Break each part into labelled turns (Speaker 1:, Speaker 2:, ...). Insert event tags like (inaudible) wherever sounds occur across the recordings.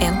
Speaker 1: En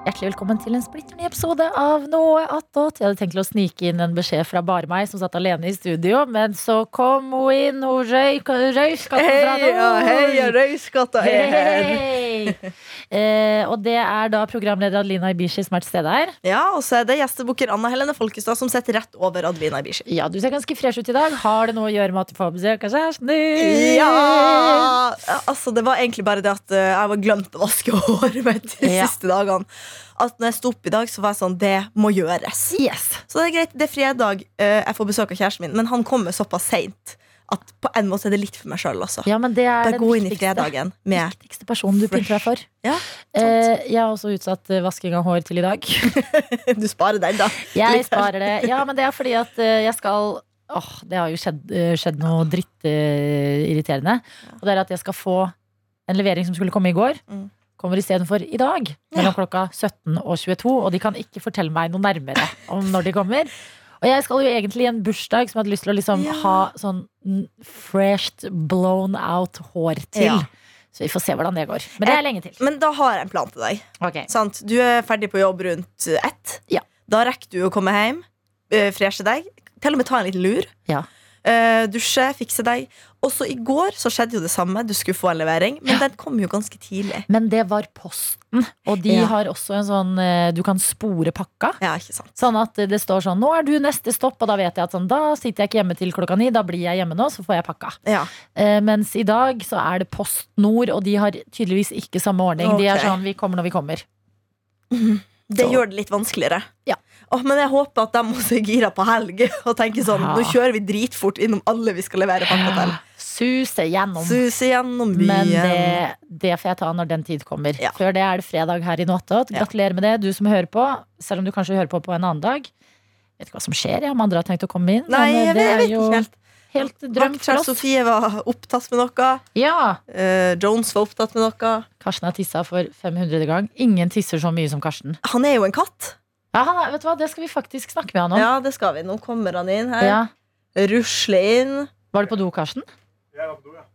Speaker 2: Hjertelig velkommen til en splitter ny episode av Noe attåt. Jeg hadde tenkt å snike inn en beskjed fra bare meg, som satt alene i studio, men så kom hun inn, hun røyk, røyskatten fra
Speaker 3: Hei og hei, og røyskatta er her.
Speaker 2: Hei! Eh, og det er da programleder Adelina Ibishi som er til stede her.
Speaker 3: Ja, og så er det gjestebukker Anna Helene Folkestad som sitter rett over Adelina Ibishi.
Speaker 2: Ja, du ser ganske fresh ut i dag. Har det noe å gjøre med at du får besøk av kjæresten din?
Speaker 3: Ja! Altså, det var egentlig bare det at eh, jeg var glemt å vaske (laughs) håret mitt de
Speaker 2: Ja.
Speaker 3: siste dagene. At når jeg sto opp i dag, så var jeg sånn Det må gjøres.
Speaker 2: Yes!
Speaker 3: Så det er greit, det er fredag, eh, jeg får besøk av kjæresten min, men han kommer såpass seint at på en måte er det litt for meg sjøl, altså.
Speaker 2: Ja, men det er
Speaker 3: Bare
Speaker 2: den
Speaker 3: gå inn i
Speaker 2: viktigste.
Speaker 3: fredagen med (laughs)
Speaker 2: viktigste personen du
Speaker 3: Fresh.
Speaker 2: pynter deg for.
Speaker 3: Ja,
Speaker 2: eh, jeg har også utsatt eh, vasking av hår til i dag.
Speaker 3: Du sparer den, da.
Speaker 2: Jeg
Speaker 3: Litt her.
Speaker 2: sparer det. Ja, men det er fordi at eh, jeg skal Åh, det har jo skjedd, eh, skjedd noe drittirriterende. og det er at jeg skal få en levering som skulle komme i går.
Speaker 3: Mm.
Speaker 2: Kommer istedenfor i dag, mellom klokka 17 og 22. Og de kan ikke fortelle meg noe nærmere om når de kommer. Og jeg skal jo egentlig i en bursdag som jeg hadde lyst til å liksom
Speaker 3: Ja.
Speaker 2: ha sånn mm, fresh blown out hår til.
Speaker 3: Ja.
Speaker 2: Så vi får se hvordan det går. Men det er lenge til.
Speaker 3: Men da har jeg en plan til deg.
Speaker 2: Ok.
Speaker 3: Sant? Du er ferdig på jobb rundt eh, ett.
Speaker 2: Ja.
Speaker 3: Da rekker du å komme hjem, eh, freshe deg, til og med ta en liten lur.
Speaker 2: Ja.
Speaker 3: Eh, dusje, fikse deg. Også i går så skjedde jo det samme. Du skulle få en levering, men den kom jo ganske tidlig.
Speaker 2: Men det var Posten, og de
Speaker 3: Ja.
Speaker 2: har også en sånn eh, Du kan spore pakka.
Speaker 3: Ja, ikke sant?
Speaker 2: Sånn at det står sånn 'Nå er du neste stopp', og da vet jeg at sånn, da sitter jeg ikke hjemme til klokka ni. Da blir jeg hjemme nå, så får jeg pakka.
Speaker 3: Ja.
Speaker 2: Eh, mens i dag så er det Post Nord, og de har tydeligvis ikke samme ordning. De er
Speaker 3: Ok.
Speaker 2: sånn 'Vi kommer når vi kommer'.
Speaker 3: Det
Speaker 2: Så-
Speaker 3: gjør det litt vanskeligere.
Speaker 2: Ja.
Speaker 3: Åh, men jeg håper at de også er gira på helg (laughs) og tenker sånn
Speaker 2: Ja.
Speaker 3: Nå kjører vi dritfort innom alle vi skal levere pakka til.
Speaker 2: Suse gjennom.
Speaker 3: Suse gjennom
Speaker 2: Men
Speaker 3: byen.
Speaker 2: det, det får jeg ta når den tid kommer.
Speaker 3: Ja.
Speaker 2: Før det er det fredag her i Nåttot.
Speaker 3: Ja.
Speaker 2: Gratulerer med det, du som hører på. Selv om du kanskje hører på på en annen dag. Vet ikke hva som skjer, ja, om andre har tenkt å komme inn.
Speaker 3: Nei,
Speaker 2: men eh, det
Speaker 3: jeg vet, jeg
Speaker 2: er
Speaker 3: vet
Speaker 2: jo
Speaker 3: ikke helt.
Speaker 2: helt drøm for
Speaker 3: Vaktkjær
Speaker 2: oss.
Speaker 3: Sofie var opptatt med noe.
Speaker 2: Ja,
Speaker 3: Eh, Jones var opptatt med noe.
Speaker 2: Karsten har tissa for 500. gang. Ingen tisser så mye som Karsten.
Speaker 3: Han er jo en katt.
Speaker 2: Ja, han, er- vet du hva, Det skal vi faktisk snakke med han om. Ja.
Speaker 3: Ja, det skal vi. Nå kommer han inn her. Rusler inn.
Speaker 2: Var du på do, Karsten?
Speaker 4: Jeg er på do, ja.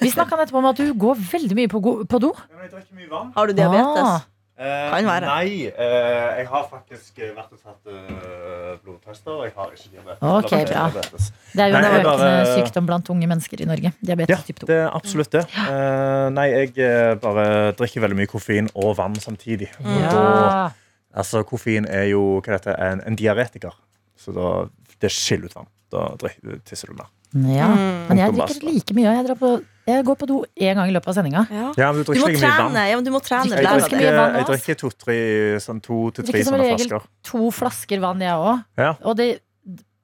Speaker 2: Vi snakka nettopp om at du går veldig mye på, go- på do.
Speaker 4: Men jeg drikker mye vann.
Speaker 3: Har du diabetes?
Speaker 2: Ah,
Speaker 4: Eh,
Speaker 3: Kan være.
Speaker 4: Nei, eh, jeg har faktisk eh, vært og tatt eh, blodtester, og jeg har ikke diabetes.
Speaker 2: Ok,
Speaker 4: Eller
Speaker 2: bra.
Speaker 4: diabetes.
Speaker 2: det er jo en
Speaker 4: Nei, jeg
Speaker 2: økende
Speaker 4: bare-
Speaker 2: sykdom blant unge mennesker i Norge. Diabetes
Speaker 4: Ja,
Speaker 2: type 2.
Speaker 4: det er absolutt det. Eh, nei, jeg eh, bare drikker veldig mye koffein og vann samtidig.
Speaker 3: Mm.
Speaker 4: Og da,
Speaker 2: Ja.
Speaker 4: altså, koffein er jo hva heter det, en, en diaretiker, så da, det skiller ut vann. Da drikker, tisser du mer.
Speaker 2: ja.
Speaker 3: Mm.
Speaker 2: Men jeg
Speaker 4: Punktum
Speaker 2: drikker
Speaker 4: basta.
Speaker 2: like mye. Jeg, drar på, jeg går på do én gang i løpet av sendinga.
Speaker 3: Ja.
Speaker 4: Ja, men du
Speaker 3: Du må
Speaker 4: drikker ikke like mye vann.
Speaker 3: trene. Ja, men du må trene
Speaker 4: Jeg
Speaker 2: Lærer
Speaker 3: flere av
Speaker 2: ganske
Speaker 4: drikker,
Speaker 3: det.
Speaker 2: mye vann,
Speaker 4: jeg
Speaker 2: ass.
Speaker 4: drikker to-tre sånn, to til tre
Speaker 2: Drikker som
Speaker 4: sånne
Speaker 2: regel
Speaker 4: flasker.
Speaker 2: To flasker vann, jeg òg.
Speaker 4: Ja.
Speaker 2: Og det,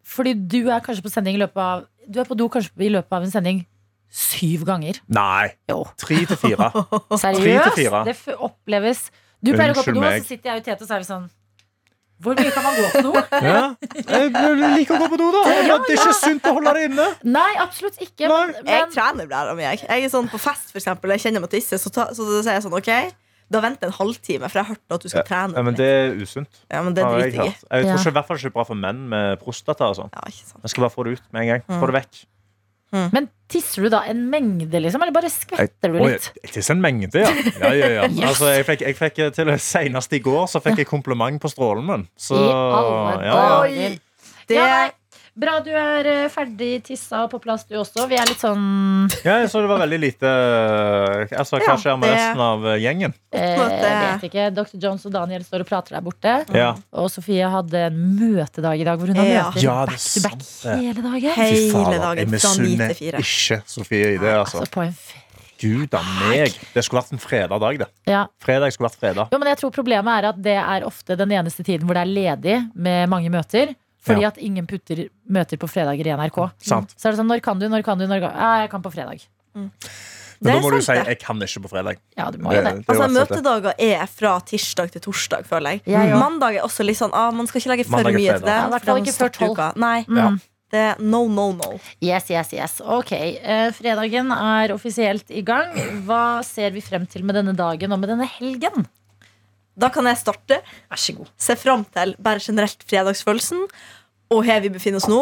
Speaker 2: fordi du er kanskje på sending i løpet av Du er på do kanskje i løpet av en sending syv ganger.
Speaker 4: Nei,
Speaker 2: Jo.
Speaker 4: tre til fire. Tre til fire.
Speaker 2: Seriøst? Det f- oppleves Du pleier å gå på do,
Speaker 4: Unnskyld
Speaker 2: og
Speaker 4: meg.
Speaker 2: så sitter jeg og Tete og så er vi sånn Hvor mye kan man gå på
Speaker 4: (laughs)
Speaker 2: do?
Speaker 4: Ja. Jeg liker å gå på do, da. Det er ikke sunt å holde det inne.
Speaker 2: Nei, absolutt ikke.
Speaker 4: Nei.
Speaker 2: Men,
Speaker 3: Jeg
Speaker 2: men
Speaker 3: trener flere av meg. Jeg er sånn på fest, for eksempel. Jeg kjenner meg tisse, så, ta, så sier jeg sånn OK, da venter jeg en halvtime, for jeg har hørt at du skal trene.
Speaker 4: Ja, men det er usunt.
Speaker 3: ja, men det
Speaker 4: har jeg
Speaker 3: driter jeg i.
Speaker 4: hørt. Jeg tror
Speaker 2: Ja.
Speaker 4: ikke, i hvert fall ikke det er bra for menn med prostata. og sånn.
Speaker 3: Ja, ikke sant.
Speaker 4: Jeg skal bare få det ut med en gang. Få det vekk.
Speaker 2: men tisser du da en mengde, liksom? Eller bare skvetter du
Speaker 4: Oi,
Speaker 2: litt?
Speaker 4: jeg tisser en mengde, ja. ja, ja, ja.
Speaker 2: Yes.
Speaker 4: Altså, jeg fikk, jeg fikk til Senest i går så fikk jeg kompliment på strålen min. Så,
Speaker 2: I alle
Speaker 4: ja, ja.
Speaker 2: dager.
Speaker 3: Oi, Det
Speaker 2: Ja, nei. Bra du er eh, ferdig tissa og på plass, du også. Vi er litt
Speaker 4: (laughs)
Speaker 2: sånn
Speaker 4: ja, jeg så det var veldig lite altså,
Speaker 3: Ja,
Speaker 4: Hva skjer med
Speaker 3: det-
Speaker 4: resten av gjengen?
Speaker 2: eh,
Speaker 3: Oppmøte.
Speaker 2: Vet ikke. Dr. Jones og Daniel står og prater der borte.
Speaker 4: Ja,
Speaker 2: Og Sofie hadde en møtedag i dag hvor hun har
Speaker 3: Ja.
Speaker 2: møter
Speaker 4: Ja, det er
Speaker 2: back to back
Speaker 4: sant
Speaker 2: hele dagen.
Speaker 4: Fy
Speaker 3: hele
Speaker 4: fader, jeg
Speaker 3: dagen fra ni
Speaker 4: misunner
Speaker 3: til fire.
Speaker 4: ikke Sofie i det. altså.
Speaker 2: Altså, på en f
Speaker 4: Gud a meg. Det skulle vært en fredag dag, det.
Speaker 2: ja.
Speaker 4: Fredag skulle vært fredag.
Speaker 2: Jo, men jeg tror problemet er at det er ofte den eneste tiden hvor det er ledig med mange møter. Fordi
Speaker 4: Ja.
Speaker 2: at ingen putter møter på fredager i NRK.
Speaker 4: Sant.
Speaker 2: Så er det sånn, når kan du, når kan du, når kan Ja, jeg kan på fredag.
Speaker 4: Men
Speaker 3: Mm. Det
Speaker 4: da
Speaker 3: er
Speaker 4: må du si
Speaker 3: sant, det.
Speaker 4: 'jeg kan ikke på fredag'.
Speaker 2: Ja, du må jo det.
Speaker 4: er jo
Speaker 3: Altså,
Speaker 4: absolutt det.
Speaker 3: Møtedager er fra tirsdag til torsdag, føler jeg.
Speaker 2: Jeg òg.
Speaker 3: Mandag er også litt sånn ah, Man skal ikke legge for
Speaker 4: Mandag er
Speaker 3: mye til det.
Speaker 4: fredag.
Speaker 2: Ja, i hvert fall
Speaker 3: for den
Speaker 2: ikke før
Speaker 3: starter uka. Nei.
Speaker 4: Ja.
Speaker 3: Det er no, no, no.
Speaker 2: Yes, yes, yes. Ok, eh, fredagen er offisielt i gang. Hva ser vi frem til med denne dagen og med denne helgen?
Speaker 3: Da kan jeg starte.
Speaker 2: Vær så god.
Speaker 3: Se fram til bare generelt fredagsfølelsen. Og her vi befinner oss nå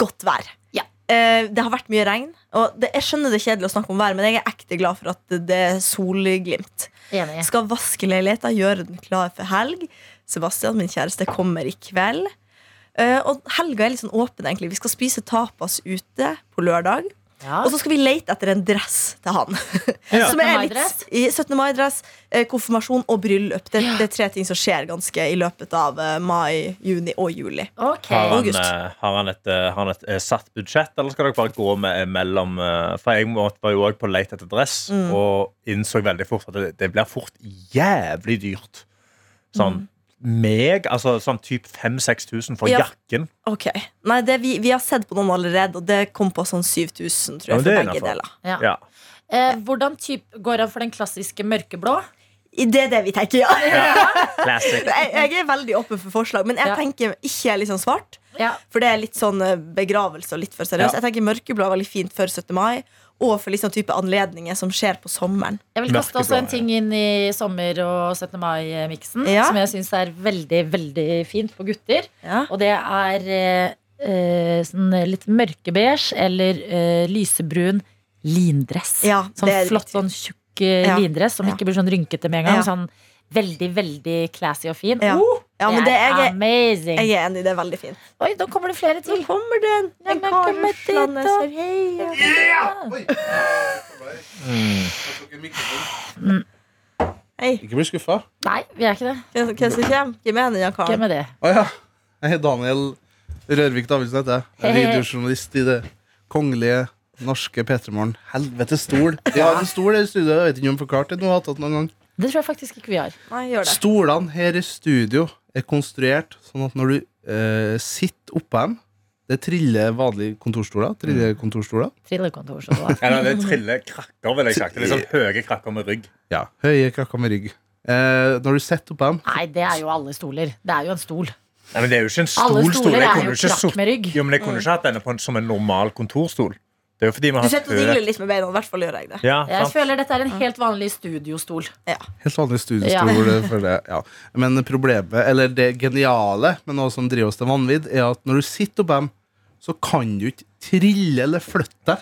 Speaker 3: godt vær.
Speaker 2: Ja.
Speaker 3: eh, det har vært mye regn. Og det, jeg skjønner det er kjedelig å snakke om vær, men jeg er ekte glad for at det- det er solglimt.
Speaker 2: Enig.
Speaker 3: Skal vaske leiligheta, gjøre den klar for helg. Sebastian, min kjæreste, kommer i kveld. Eh, og helga er litt sånn åpen, egentlig. Vi skal spise tapas ute på lørdag.
Speaker 2: Ja.
Speaker 3: Og så skal vi lete etter en dress til han.
Speaker 4: (laughs) Ja.
Speaker 3: Som er
Speaker 2: 17.
Speaker 3: litt
Speaker 2: mai-dress?
Speaker 3: i 17. mai-dress, eh, konfirmasjon og bryllup. Det,
Speaker 2: Ja.
Speaker 3: det er tre ting som skjer ganske i løpet av eh, mai, juni og juli.
Speaker 2: Ok.
Speaker 4: Har han,
Speaker 3: August.
Speaker 4: eh, har han et, eh, har han et eh, satt budsjett, eller skal dere bare gå med eh, mellom eh, For jeg måtte- var jo òg på leit etter dress,
Speaker 3: Mm.
Speaker 4: og innså veldig fort at det, det blir fort jævlig dyrt. Sånn meg, altså sånn typ 5000-6000 for
Speaker 3: Mm. Ja.
Speaker 4: jakken.
Speaker 3: Ok, Nei, det, vi, vi har sett på noen allerede, og det kom på sånn 7000, tror
Speaker 4: Ja,
Speaker 3: jeg.
Speaker 4: men det er
Speaker 3: for begge
Speaker 4: innenfor.
Speaker 3: deler
Speaker 2: Ja.
Speaker 4: Ja.
Speaker 2: Eh, hvordan type går han for den klassiske mørkeblå?
Speaker 3: I det er det vi tenker,
Speaker 4: (laughs)
Speaker 3: ja. (laughs)
Speaker 4: Classic.
Speaker 3: Jeg, jeg er veldig åpen for forslag, men jeg
Speaker 2: Ja.
Speaker 3: tenker ikke litt sånn svart.
Speaker 2: Ja.
Speaker 3: For det er litt sånn eh, begravelse og litt for seriøst.
Speaker 4: Ja.
Speaker 3: Jeg tenker Mørkeblå er veldig fint før 17. mai, og for litt sånn type anledninger som skjer på sommeren.
Speaker 2: Jeg vil kaste
Speaker 4: Mørkeblå,
Speaker 2: også en
Speaker 4: ja.
Speaker 2: ting inn i sommer- og 17. mai-miksen,
Speaker 3: Ja.
Speaker 2: som jeg syns er veldig, veldig fint for gutter.
Speaker 3: Ja.
Speaker 2: Og det er eh, eh, sånn litt mørkebeige eller eh, lysebrun lindress.
Speaker 3: Ja,
Speaker 2: sånn
Speaker 3: det er
Speaker 2: flott,
Speaker 3: riktig.
Speaker 2: sånn tjukk eh,
Speaker 3: Ja.
Speaker 2: lindress som
Speaker 3: Ja.
Speaker 2: ikke blir sånn rynkete med en gang.
Speaker 3: Ja.
Speaker 2: Sånn veldig, veldig classy og fin.
Speaker 3: Ja.
Speaker 2: Oh,
Speaker 3: Ja, men
Speaker 2: det
Speaker 3: det,
Speaker 2: er
Speaker 3: jeg, er-
Speaker 2: amazing!
Speaker 3: jeg er enig, det er veldig fint.
Speaker 2: Oi, nå kommer det flere til.
Speaker 3: kommer den!
Speaker 2: Den kommer dit, da.
Speaker 5: Ikke bli skuffa.
Speaker 2: Nei, vi er ikke det.
Speaker 3: Hvem hvem som kommer? Hvem er den, Jan
Speaker 2: Ikke
Speaker 3: Karen?
Speaker 2: med det.
Speaker 5: Å ja. Jeg heter Daniel Rørvik Davidsen. heter jeg. Jeg er Radiojournalist i det kongelige norske P3 Morgen. Helvete, stol! Vi har en stol her i studio. Jeg vet ikke om jeg forklarte det. Noe, hatt noen gang.
Speaker 2: Det tror jeg faktisk ikke vi har.
Speaker 3: Nei, gjør det.
Speaker 5: Stolene her i studio er konstruert sånn at når du eh, sitter oppå dem Det triller vanlige kontorstoler. Triller kontorstoler.
Speaker 2: Trillekontor. så det var.
Speaker 4: Eller det triller krakker, vil jeg sagt. Det er sånn høye krakker med rygg.
Speaker 5: Ja, Høye krakker med rygg. Eh, når du sitter oppå dem
Speaker 2: Nei, det er jo alle stoler. Det er jo en stol.
Speaker 4: Nei, men Det er jo ikke en
Speaker 2: Alle
Speaker 4: stol. stol.
Speaker 2: stoler
Speaker 4: Jeg
Speaker 2: er
Speaker 4: kunne
Speaker 2: jo
Speaker 4: jo ikke,
Speaker 2: krakk
Speaker 4: sutt-
Speaker 2: med rygg.
Speaker 4: jo, men jeg kunne ikke hatt denne på en, som en normal kontorstol. Det er jo fordi vi
Speaker 3: Du
Speaker 4: har
Speaker 3: sitter og dingler litt med beina. I hvert fall gjør jeg det.
Speaker 4: Ja,
Speaker 2: Jeg
Speaker 4: sant?
Speaker 2: føler dette er en helt vanlig studiostol.
Speaker 5: Helt vanlig studiestol. føler jeg, ja. Men problemet, eller det geniale med noe som driver oss til vanvidd, er at når du sitter oppå dem, så kan du ikke trille eller flytte deg.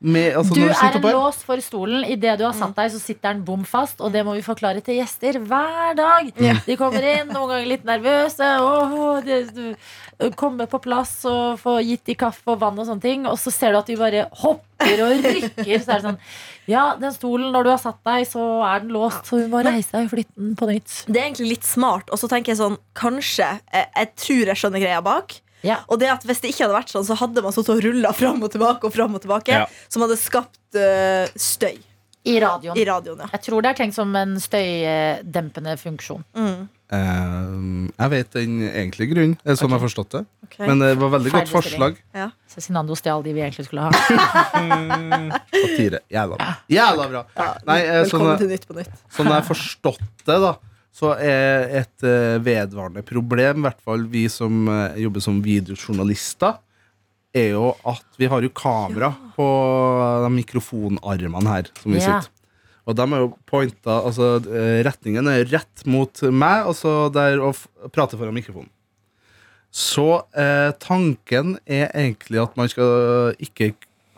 Speaker 5: Med, altså,
Speaker 2: Du
Speaker 5: når
Speaker 2: er
Speaker 5: sitter
Speaker 2: en
Speaker 5: oppå dem.
Speaker 2: lås for stolen. Idet du har satt deg, så sitter den bom fast. Og det må vi forklare til gjester hver dag. De kommer inn, noen ganger litt nervøse. Åh, det, du, komme på plass og få gitt de kaffe og vann og sånne ting. Og så ser du at de bare hopper og rykker. Så er det sånn Ja, den stolen, når du har satt deg, så er den låst. Så du må reise deg og flytte den på nytt.
Speaker 3: Det er egentlig litt smart. Og så tenker jeg sånn, kanskje Jeg, jeg tror jeg skjønner greia bak.
Speaker 2: Ja.
Speaker 3: Og det at Hvis det ikke hadde vært sånn, så hadde man stått og rulla fram og tilbake og fram og tilbake.
Speaker 4: Ja.
Speaker 3: Som hadde skapt eh, støy
Speaker 2: I radioen.
Speaker 3: i radioen. ja
Speaker 2: Jeg tror det er tenkt som en støydempende funksjon.
Speaker 5: Eh, jeg vet den egentlige grunnen, eh, sånn jeg har forstått det.
Speaker 3: Ok.
Speaker 5: Men det var veldig godt
Speaker 2: Feilbestilling.
Speaker 5: forslag.
Speaker 2: Cezinando stjal de vi egentlig skulle ha.
Speaker 5: Satire. Jævla bra. Jævla bra. Nei, eh,
Speaker 3: Velkommen
Speaker 5: sånn,
Speaker 3: til Nytt på Nytt.
Speaker 5: Sånn jeg har forstått det, da, så er et eh, vedvarende problem, i hvert fall vi som eh, jobber som videojournalister, er jo at vi har jo kamera på de mikrofonarmene her som vi
Speaker 2: Ja.
Speaker 5: sitter. Og de er jo pointa Altså, eh, retningen er rett mot meg, og så der og f- prater foran mikrofonen. Så eh, tanken er egentlig at man skal ikke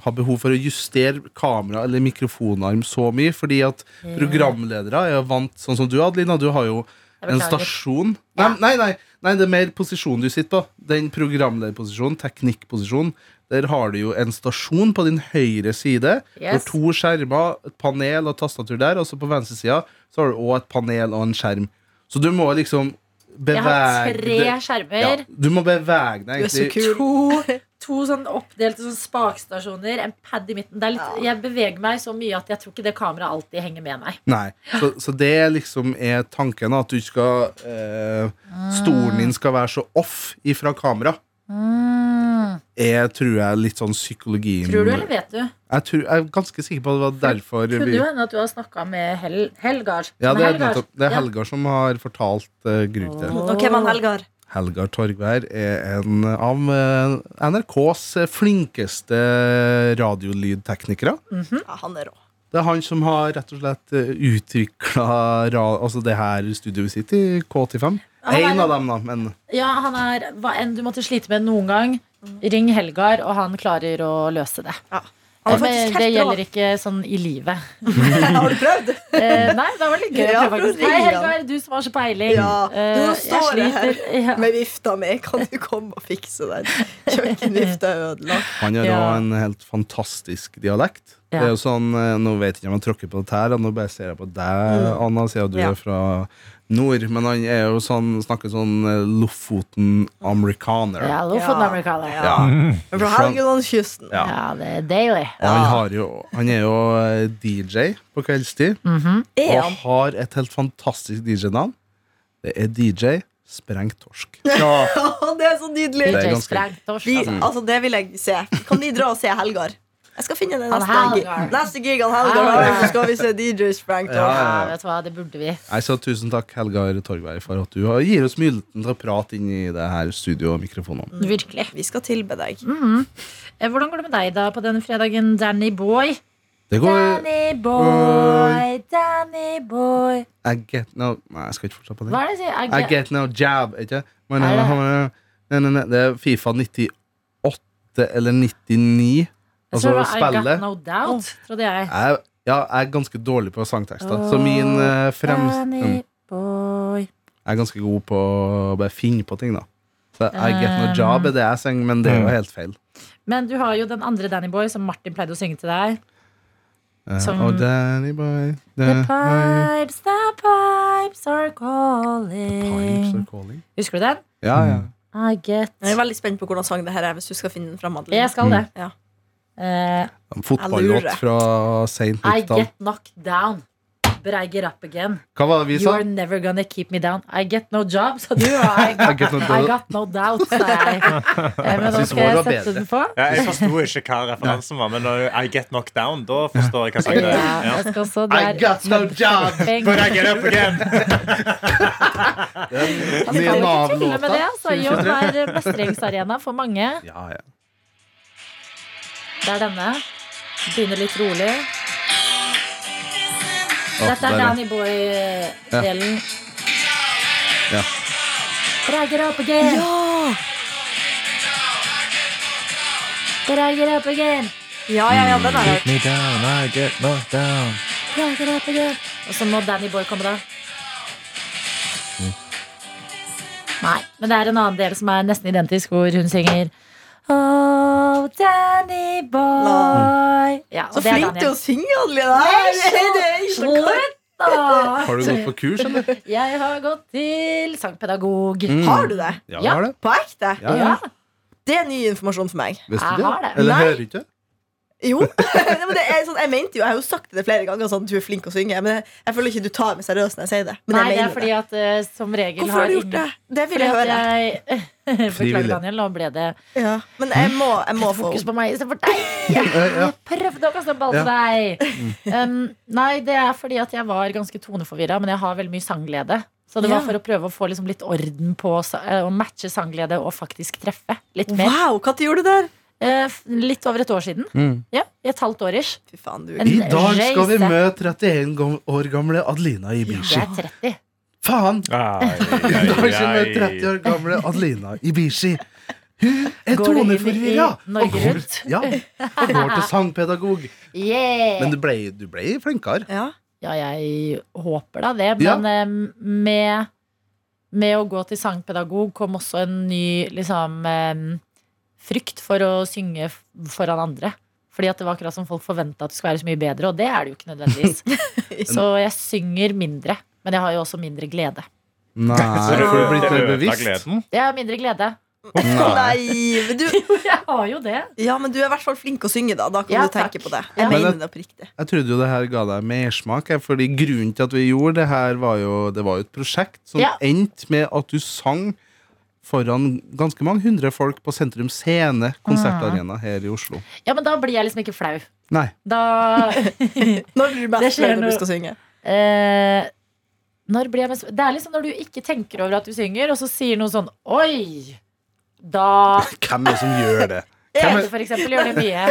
Speaker 5: ha behov for å justere kamera eller mikrofonarm så mye, fordi at programledere er jo vant Sånn som du, Adelina, du har jo
Speaker 2: Jeg
Speaker 5: en
Speaker 2: beklager.
Speaker 5: stasjon nei, nei, nei, nei, det er mer posisjonen du sitter på. Den programlederposisjonen, teknikkposisjonen. Der har du jo en stasjon på din høyre side.
Speaker 2: Yes.
Speaker 5: Yes. To skjermer, et panel og tastatur der. Og så på venstre sida så har du òg et panel og en skjerm. Så du må liksom
Speaker 2: Jeg har
Speaker 5: bevege
Speaker 2: tre
Speaker 5: deg- ja,
Speaker 2: skjermer.
Speaker 5: Du må bevege deg
Speaker 3: Du er så
Speaker 5: egentlig
Speaker 3: kul.
Speaker 2: To sånn oppdelte sånn spakstasjoner, en pad i midten. Det er litt, Jeg beveger meg så mye at jeg tror ikke det kameraet alltid henger med meg.
Speaker 5: Nei, så, så det liksom er tanken at du skal eh, Stolen din skal være så off ifra kamera.
Speaker 2: Mm.
Speaker 5: Jeg tror jeg er litt sånn psykologien
Speaker 2: Tror du, eller vet du?
Speaker 5: Jeg, tror, jeg er ganske sikker på at det var derfor
Speaker 2: Kunne
Speaker 5: vi
Speaker 2: jo hende at du har snakka med Hel Helgar.
Speaker 5: ja, det, er
Speaker 2: Helgar.
Speaker 5: nettopp, det er
Speaker 2: Ja.
Speaker 5: Helgar som har fortalt eh, grunnen til det.
Speaker 3: Og hvem er Helgar?
Speaker 5: Helgar Torgvær er en av eh, NRKs flinkeste radiolydteknikere.
Speaker 3: Hm? Ja, han er rå.
Speaker 5: Det er han som har rett og slett utvikla altså det her studioet vi sitter i,
Speaker 2: Han
Speaker 5: K85.
Speaker 2: er-
Speaker 5: Én av dem, da, men
Speaker 2: Ja, han er hva enn du måtte slite med noen gang. Ring Helgar, og han klarer å løse det.
Speaker 3: Han er
Speaker 2: Men det
Speaker 3: faktisk helt rå.
Speaker 2: gjelder ikke sånn i livet.
Speaker 3: (laughs) Har du prøvd?
Speaker 2: Eh, nei, det var litt gøy å
Speaker 3: Ja,
Speaker 2: prøve. faktisk.
Speaker 3: prøv å
Speaker 2: Hei,
Speaker 3: ringe han.
Speaker 2: Helgar, du som har så peiling.
Speaker 3: Ja,
Speaker 2: Eh,
Speaker 3: nå
Speaker 2: jeg
Speaker 3: står det her.
Speaker 2: sliter. (laughs) Ja.
Speaker 3: Med vifta mi. Kan du komme og fikse den? Kjøkkenvifta er ødelagt.
Speaker 5: Han har
Speaker 2: Ja.
Speaker 5: også en helt fantastisk dialekt.
Speaker 2: Ja.
Speaker 5: Det er jo sånn, eh, Nå vet jeg ikke om jeg tråkker på det her, nå bare ser jeg på deg,
Speaker 2: Mm.
Speaker 5: Anna, siden du
Speaker 3: Ja.
Speaker 5: er fra nord. Men han er jo sånn, snakker sånn eh, Lofoten-amerikaner.
Speaker 2: Ja, Lofoten amerikaner.
Speaker 3: Ja. Fra Helgelandskysten.
Speaker 5: Ja.
Speaker 2: Ja, det er deilig.
Speaker 5: Og han, har jo, han er jo eh, DJ på kveldstid,
Speaker 2: Mm.
Speaker 3: Er
Speaker 5: og
Speaker 3: han?
Speaker 5: har et helt fantastisk DJ-navn. Det er DJ Sprengt Torsk.
Speaker 3: Ja, Det er så nydelig!
Speaker 5: Det er
Speaker 2: DJ
Speaker 5: ganske-
Speaker 2: Sprang, torsk,
Speaker 3: De,
Speaker 5: Mm.
Speaker 2: altså.
Speaker 3: altså, det vil jeg se. Kan de dra og se Helgar? Jeg skal finne den
Speaker 2: Han
Speaker 3: neste, gi-
Speaker 2: Helgar. Ah.
Speaker 3: neste gig han Helgar har. Så skal vi se DJ Sprank.
Speaker 5: Ja, ja.
Speaker 2: Ja, vet du hva, det burde vi.
Speaker 5: Nei, så Tusen takk, Helgar Torgvei, for at du har- gir oss muligheten til å prate inn i det her studio og mikrofonene.
Speaker 3: Mm.
Speaker 2: Virkelig.
Speaker 3: Vi skal tilbe deg.
Speaker 2: Eh, Hvordan går det med deg da på denne fredagen, Danny Boy?
Speaker 5: Det går
Speaker 2: Danny Boy, Danny Boy.
Speaker 5: I get no Nei, jeg skal ikke fortsette på det.
Speaker 2: Hva er det jeg sier?
Speaker 5: I get no job, ikke? Men, eh,
Speaker 2: Er det?
Speaker 5: nei, nei, nei, det er Fifa 98 eller 99.
Speaker 2: Jeg tror
Speaker 5: Altså
Speaker 2: det var I
Speaker 5: spillet.
Speaker 2: got no doubt, trodde jeg.
Speaker 5: Jeg, ja, jeg er ganske dårlig på sangtekster, så min eh, fremst mm,
Speaker 2: Danny Boy.
Speaker 5: Jeg er ganske god på å bare finne på ting, da. Så I get
Speaker 2: Eh.
Speaker 5: no job er det jeg synger, men det er jo helt feil.
Speaker 2: Men du har jo den andre Danny Boy som Martin pleide å synge til deg.
Speaker 5: Eh,
Speaker 2: Som-
Speaker 5: oh, Danny boy,
Speaker 2: The
Speaker 5: Danny boy,
Speaker 2: pipes, the pipes are calling. Eh,
Speaker 5: pipes are calling.
Speaker 2: Husker du den?
Speaker 5: Ja, ja.
Speaker 2: I get
Speaker 3: Jeg er veldig spent på hvordan sang det her er. Hvis du skal finne den frem, Adeline.
Speaker 2: Jeg skal det.
Speaker 3: Ja.
Speaker 5: Mm.
Speaker 2: Eh,
Speaker 5: Fotballåt
Speaker 3: lurer.
Speaker 5: fra seint
Speaker 2: I
Speaker 5: 90-tall.
Speaker 2: get knocked down. But I get up again.
Speaker 5: Hva var det vi
Speaker 2: You
Speaker 5: sa?
Speaker 2: are never gonna keep me down. I get no job, sa du. Og
Speaker 5: (laughs)
Speaker 2: I
Speaker 5: I
Speaker 2: got,
Speaker 5: get no
Speaker 2: I
Speaker 5: job.
Speaker 2: got no doubt, sa
Speaker 5: (laughs)
Speaker 2: jeg. Eh, Men nå
Speaker 5: synes
Speaker 2: skal
Speaker 5: vår
Speaker 2: jeg
Speaker 5: var
Speaker 2: sette
Speaker 5: bedre.
Speaker 2: den på.
Speaker 4: Ja, jeg forsto ikke hva referansen var, men når I get knocked down, da forstår jeg hva sangen er.
Speaker 2: Ja,
Speaker 4: Ja.
Speaker 2: jeg skal så
Speaker 5: I
Speaker 2: der.
Speaker 5: got no job!
Speaker 4: But I get up again.
Speaker 2: Vi kan jo
Speaker 5: Nye
Speaker 2: ikke tulle
Speaker 5: Nav-låta.
Speaker 2: med det. Altså. Jobb er mestringsarena for mange.
Speaker 5: Ja, ja.
Speaker 2: Det er denne. Begynner litt rolig. Dette
Speaker 5: der,
Speaker 2: er
Speaker 5: ja.
Speaker 2: Danny Boy-delen.
Speaker 5: Ja.
Speaker 2: Bragger up again. Bragger up again.
Speaker 3: Ja, ja, ja, den er
Speaker 4: me down, I get knocked down.
Speaker 2: Bragger up again. Og så må Danny Boy komme, da. Nei, men det er en annen del som er nesten identisk, hvor hun synger Oh, Danny Boy. Ja, og
Speaker 3: Så
Speaker 2: det er
Speaker 3: flink du er å
Speaker 2: Daniel.
Speaker 3: synge, Adeline! Nei, det er ikke noe klart.
Speaker 2: Slutt,
Speaker 3: (laughs)
Speaker 2: da!
Speaker 5: Har du gått på kurs, eller?
Speaker 2: Jeg har gått til sangpedagog.
Speaker 3: Har du det?
Speaker 5: Ja,
Speaker 2: Ja.
Speaker 5: jeg har det.
Speaker 3: På ekte?
Speaker 5: Mm. Ja, ja.
Speaker 2: Ja.
Speaker 3: Det er ny informasjon for meg.
Speaker 5: Visste
Speaker 2: Jeg
Speaker 5: du det?
Speaker 2: har det.
Speaker 5: Eller
Speaker 3: Nei.
Speaker 5: hører du ikke?
Speaker 3: Jo. (laughs) Nei, men det er sånn, jeg mente jo, jeg har jo sagt det flere ganger, sånn, du er flink å synge. Men jeg, jeg føler ikke du tar meg seriøst når jeg sier det. Men
Speaker 2: Nei, det
Speaker 3: jeg
Speaker 2: er fordi at eh, som regel
Speaker 3: Hvorfor har du gjort
Speaker 2: ingen-
Speaker 3: det? Det vil
Speaker 2: Fordi
Speaker 3: jeg
Speaker 2: at
Speaker 3: høre.
Speaker 2: jeg- (laughs) Beklager,
Speaker 5: Frivillig.
Speaker 2: Daniel. Nå ble det
Speaker 3: Ja. Men jeg må, jeg må få
Speaker 2: fokus på meg istedenfor
Speaker 5: (laughs)
Speaker 2: deg. Jeg prøvde å kaste en ball til deg. Um, nei, det er fordi at jeg var ganske toneforvirra, men jeg har veldig mye sangglede. Så det var
Speaker 3: Ja.
Speaker 2: for å prøve å få liksom litt orden på sa- eh, å matche sangglede og faktisk treffe litt mer.
Speaker 3: Wow, når gjorde du det der?
Speaker 2: Eh, f- litt over et år siden.
Speaker 5: Mm.
Speaker 2: Ja, i et halvt år ish.
Speaker 3: Fy faen, du.
Speaker 2: En-
Speaker 5: I dag skal vi
Speaker 2: Reise.
Speaker 5: møte 31 gam- år gamle Adelina
Speaker 2: Jeg
Speaker 5: Ibishi.
Speaker 2: er 30.
Speaker 5: Faen!
Speaker 4: Ai,
Speaker 5: I dag skal vi møte
Speaker 4: ai,
Speaker 5: 30 år gamle Adelina Ibishi. Hun er
Speaker 2: Går det inn i
Speaker 5: toneforvirra!
Speaker 2: Norge
Speaker 5: går-
Speaker 2: Rundt?
Speaker 5: Ja, og går til
Speaker 2: (laughs)
Speaker 5: sangpedagog.
Speaker 2: Yeah!
Speaker 5: Men du ble, du ble flinkere.
Speaker 3: Ja.
Speaker 2: Ja, jeg håper da det.
Speaker 5: Ja.
Speaker 2: Men eh, med, med å gå til sangpedagog kom også en ny liksom, eh, frykt for å synge f- foran andre. Fordi at det var akkurat som folk forventa at du skulle være så mye bedre, og det er det jo ikke nødvendigvis. så jeg synger mindre, men jeg har jo også mindre glede.
Speaker 5: Nei,
Speaker 4: Så
Speaker 5: for du er blitt mer
Speaker 4: ødela
Speaker 5: bevisst.
Speaker 4: gleden?
Speaker 2: Jeg har mindre glede.
Speaker 3: Nei, men du,
Speaker 2: Jeg har jo det.
Speaker 3: ja, men du er i hvert fall flink å synge, da. Da kan
Speaker 2: Ja,
Speaker 3: du tenke
Speaker 2: takk.
Speaker 3: på det.
Speaker 2: Ja.
Speaker 3: Jeg
Speaker 5: Men-
Speaker 3: mener det oppriktig.
Speaker 5: Jeg trodde jo det her ga deg mersmak, jeg, fordi grunnen til at vi gjorde det her, var jo, det var jo et prosjekt som
Speaker 2: Ja.
Speaker 5: endte med at du sang foran ganske mange hundre folk på Sentrum Scene konsertarena
Speaker 2: Ah.
Speaker 5: her i Oslo.
Speaker 2: Ja, men da blir jeg liksom ikke flau.
Speaker 5: Nei.
Speaker 2: (laughs) Da
Speaker 3: Når blir du
Speaker 2: Det
Speaker 3: mest
Speaker 2: skjer
Speaker 3: fornøyd når
Speaker 2: noe.
Speaker 3: du skal synge?
Speaker 2: Eh, når blir jeg mest Det er liksom når du ikke tenker over at du synger, og så sier noen sånn Oi! Da (laughs)
Speaker 5: Hvem er det som gjør det?
Speaker 2: Tete, for eksempel, gjør det mye.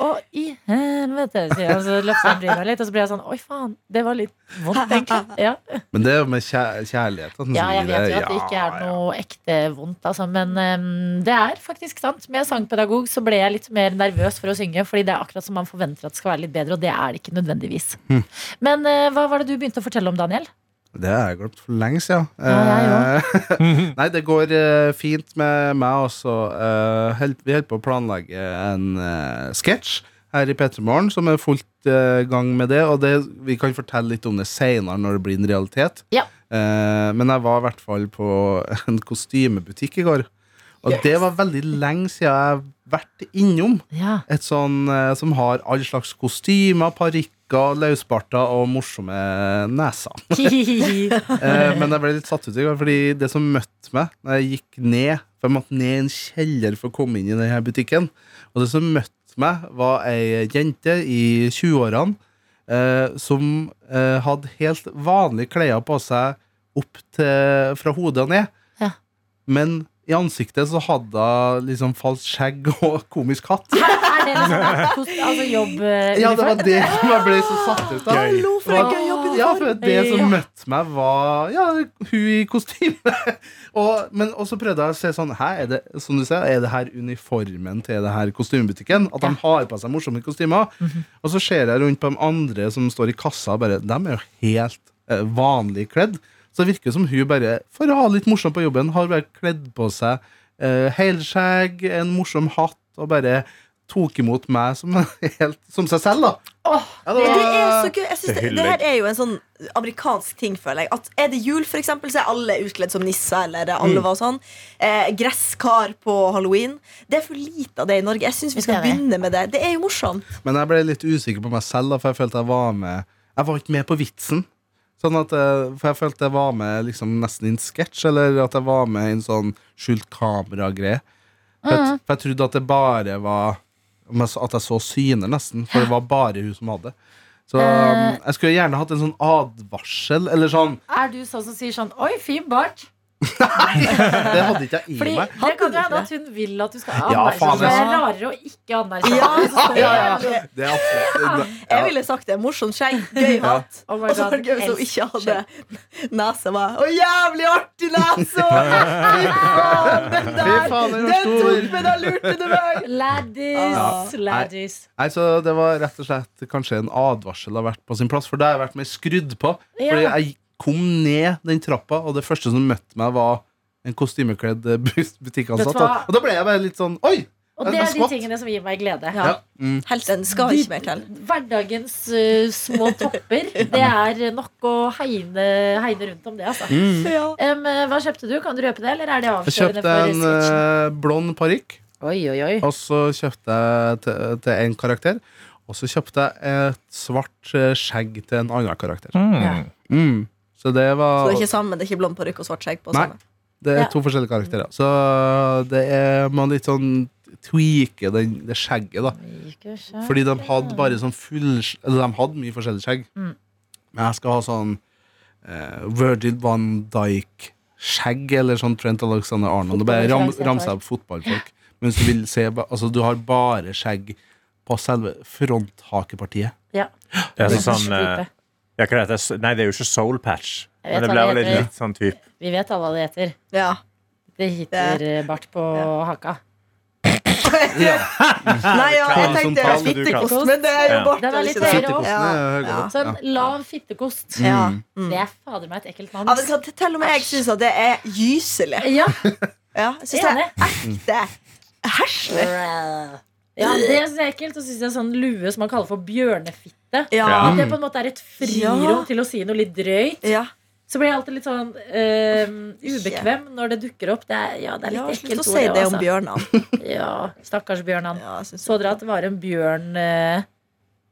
Speaker 2: Og i helvete, sier han. Så løfter han bryna litt, og så blir jeg sånn Oi, faen. Det var litt vondt, egentlig. Ja.
Speaker 5: Men det er jo med kjær kjærlighet. at den
Speaker 2: Ja, jeg
Speaker 5: sier
Speaker 2: vet
Speaker 5: Sånn det.
Speaker 2: jo at det ikke er
Speaker 5: Ja,
Speaker 2: noe ekte vondt, altså, men ehm, det er faktisk sant. Med sangpedagog så ble jeg litt mer nervøs for å synge, fordi det er akkurat som man forventer at det skal være litt bedre, og det er det ikke nødvendigvis.
Speaker 5: Hm.
Speaker 2: Men eh, hva var det du begynte å fortelle om, Daniel?
Speaker 5: Det har jeg glemt for lenge siden.
Speaker 2: Ja,
Speaker 5: Eh, (laughs) Nei, det går eh, fint med meg også. Eh, held, vi holder på å planlegge en eh, sketsj her i P3 Morgen som er fullt eh, gang med det. Og det, vi kan fortelle litt om det seinere når det blir en realitet.
Speaker 2: Ja.
Speaker 5: Eh, men jeg var i hvert fall på (laughs) en kostymebutikk i går. Og det var veldig lenge siden jeg har vært innom
Speaker 2: (laughs) Ja.
Speaker 5: et sånn eh, som har all slags kostymer, parykker, løsbarter og morsomme neser.
Speaker 2: ja,
Speaker 5: Eh, men jeg ble litt satt ut i går, fordi det som møtte meg når jeg gikk ned For jeg måtte ned i en kjeller for å komme inn i denne butikken. Og det som møtte meg, var ei jente i 20-årene eh, som eh, hadde helt vanlige klær på seg opp til, fra hodet og ned.
Speaker 2: Ja.
Speaker 5: Men i ansiktet så hadde hun liksom falskt skjegg og (laughs) komisk hatt.
Speaker 2: er det liksom kost- altså jobb eh,
Speaker 5: Ja, det var
Speaker 2: uniform?
Speaker 5: det som jeg ble så satt ut av.
Speaker 3: Hallo, for en
Speaker 5: Hva-
Speaker 3: gøy jobb i
Speaker 5: Ja,
Speaker 3: dag!
Speaker 5: for det som
Speaker 2: Ja.
Speaker 5: møtte meg, var ja, hun i kostyme. (laughs) Og, men og så prøvde jeg å se sånn Hæ, er det, som du sier, er det her uniformen til det her kostymebutikken? At de har på seg morsomme kostymer? Og så ser jeg rundt på de andre som står i kassa, og bare De er jo helt eh, vanlig kledd. Så det virker som hun bare, for å ha litt morsomt på jobben, har bare kledd på seg eh, helskjegg, en morsom hatt, og bare tok imot meg som, (laughs) helt, som seg selv, da.
Speaker 2: Åh,
Speaker 5: Ja, det
Speaker 3: Det
Speaker 5: var-
Speaker 3: er så gøy. Jeg synes
Speaker 4: Det
Speaker 3: det,
Speaker 4: hyller
Speaker 3: det her
Speaker 4: jeg.
Speaker 3: er jo en sånn amerikansk ting, føler jeg. At er det jul, for eksempel, så er alle utkledd som nisser eller alver og sånn. Eh, gresskar på halloween. Det er for lite av det i Norge. Jeg syns vi
Speaker 2: Det
Speaker 3: skal
Speaker 2: er det.
Speaker 3: begynne med det. Det er jo morsomt.
Speaker 5: Men jeg ble litt usikker på meg selv, da, for jeg følte jeg var med Jeg var ikke med på vitsen. Sånn at, eh, for jeg følte jeg var med liksom nesten i en sketsj, eller at jeg var med i en sånn skjult kamera-greie. For, jeg- for jeg trodde at det bare var om jeg så- At jeg så syner, nesten. For det var bare hun som hadde. Så um,
Speaker 2: Eh.
Speaker 5: jeg skulle gjerne hatt en sånn advarsel, eller sånn.
Speaker 2: Er du sånn som sier sånn Oi, fin bart?
Speaker 5: Det hadde ikke jeg i
Speaker 2: Fordi
Speaker 5: meg.
Speaker 2: det kan jo hende at hun vil at du skal
Speaker 5: Ja,
Speaker 2: anerkjenne
Speaker 5: faen,
Speaker 2: det. Det er
Speaker 5: ja.
Speaker 2: rarere å ikke anerkjenne
Speaker 3: Ja,
Speaker 2: det. så står jeg
Speaker 5: ja,
Speaker 2: der og sånn,
Speaker 5: Det er absolutt
Speaker 3: Jeg ville sagt det. Morsomt skjegg, gøy hatt.
Speaker 2: Oh my
Speaker 3: Og så
Speaker 2: God,
Speaker 3: var det gøy hvis hun ikke
Speaker 2: elsker
Speaker 3: hadde nese. Var. Å, jævlig artig nese!
Speaker 5: (laughs)
Speaker 3: Fy faen, den
Speaker 5: Fy
Speaker 3: der!
Speaker 5: faen, den var
Speaker 3: Den tok
Speaker 5: stor!
Speaker 3: meg, da lurte du meg! Ja.
Speaker 2: Laddis, laddis.
Speaker 5: Nei, så Det var rett og slett kanskje en advarsel har vært på sin plass, for det har jeg vært mer skrudd på. Fordi
Speaker 2: Ja.
Speaker 5: jeg kom ned den trappa, og det første som møtte meg, var en kostymekledd eh, bu-
Speaker 2: Vet
Speaker 5: butikkansatt.
Speaker 2: du hva?
Speaker 5: Og da ble jeg bare litt sånn Oi!
Speaker 2: Og
Speaker 5: Det
Speaker 2: det
Speaker 5: er
Speaker 2: er de
Speaker 5: smått.
Speaker 2: tingene som gir meg glede.
Speaker 3: Ja.
Speaker 5: Mm.
Speaker 3: Helten skal ikke mer til.
Speaker 2: Hverdagens eh, små (laughs) topper. Det er nok å hegne, hegne rundt om det, altså.
Speaker 3: Mm. Ja.
Speaker 2: Em, eh, hva kjøpte du? Kan du røpe det, eller er det
Speaker 5: Jeg
Speaker 2: avslørende
Speaker 5: kjøpte
Speaker 2: for
Speaker 5: en
Speaker 2: sketsjen?
Speaker 5: eh, blond parykk,
Speaker 2: Oi, oi, oi.
Speaker 5: og så kjøpte jeg til, til en karakter. Og så kjøpte jeg et svart eh, skjegg til en annen karakter.
Speaker 4: Mm.
Speaker 5: Mm. Så det
Speaker 3: Så
Speaker 5: var
Speaker 3: det er ikke sammen, det er ikke blond parykk og svart skjegg på
Speaker 5: Nei.
Speaker 3: samme.
Speaker 5: Det er
Speaker 2: Ja.
Speaker 5: to forskjellige karakterer. Så det er man litt sånn tweaker den, det skjegget, da.
Speaker 2: Ikke sant.
Speaker 5: Fordi de hadde bare sånn full Eller de hadde mye forskjellig skjegg.
Speaker 2: Mm.
Speaker 5: Men jeg skal ha sånn eh, Virgil van Dijk-skjegg eller sånn Trent Alexander Arnold. Og bare ram,
Speaker 2: Fotballreferanse jeg
Speaker 5: ramse
Speaker 2: tar.
Speaker 5: opp fotballfolk. Mens du vil se ba- Altså, du har bare skjegg på selve fronthakepartiet.
Speaker 4: Det er
Speaker 2: Det er
Speaker 4: sånn,
Speaker 2: sånn
Speaker 4: eh,
Speaker 2: type.
Speaker 4: ja, hva heter det? Nei, det er jo ikke soul patch.
Speaker 2: Jeg
Speaker 4: Men
Speaker 2: vet
Speaker 4: det
Speaker 2: hva
Speaker 4: blir vel
Speaker 2: det
Speaker 4: litt
Speaker 2: heter.
Speaker 4: litt sånn
Speaker 2: (laughs)
Speaker 4: type
Speaker 2: Vi vet alle hva det heter.
Speaker 3: Ja.
Speaker 2: Det heter eh, bart på haka.
Speaker 3: Nei, ja, jeg tenkte
Speaker 5: Horisontal,
Speaker 4: du kaller
Speaker 3: fittekost,
Speaker 2: det.
Speaker 3: men det er jo
Speaker 4: Ja.
Speaker 3: bort.
Speaker 2: Den er
Speaker 3: er det
Speaker 2: litt
Speaker 3: ikke det?
Speaker 2: høyere opp.
Speaker 5: Fittekosten er høyere
Speaker 3: Ja.
Speaker 5: opp.
Speaker 2: Så en lav fittekost.
Speaker 3: Ja.
Speaker 5: Mm.
Speaker 2: Det er fader meg et ekkelt
Speaker 3: Ja, vet
Speaker 2: navn.
Speaker 3: du hva, til og med jeg syns at det er gyselig.
Speaker 2: Ja,
Speaker 3: Ja, jeg synes det
Speaker 2: enig.
Speaker 3: er ekte herselig.
Speaker 2: Ja, det syns jeg er ekkelt. Og så syns jeg sånn lue som man kaller for bjørnefitte.
Speaker 3: Ja.
Speaker 2: At det på en måte er et frirom
Speaker 3: Ja.
Speaker 2: til å si noe litt drøyt.
Speaker 3: Ja.
Speaker 2: Så blir jeg alltid litt sånn eh, ubekvem når det dukker opp. Det er, ja, det er litt
Speaker 3: Ja,
Speaker 2: ekkelt
Speaker 3: slutt å
Speaker 2: ord,
Speaker 3: si det om
Speaker 2: også.
Speaker 3: bjørnene.
Speaker 2: Ja, stakkars bjørnan.
Speaker 3: Ja, jeg synes
Speaker 2: Så dere at det var en bjørn eh,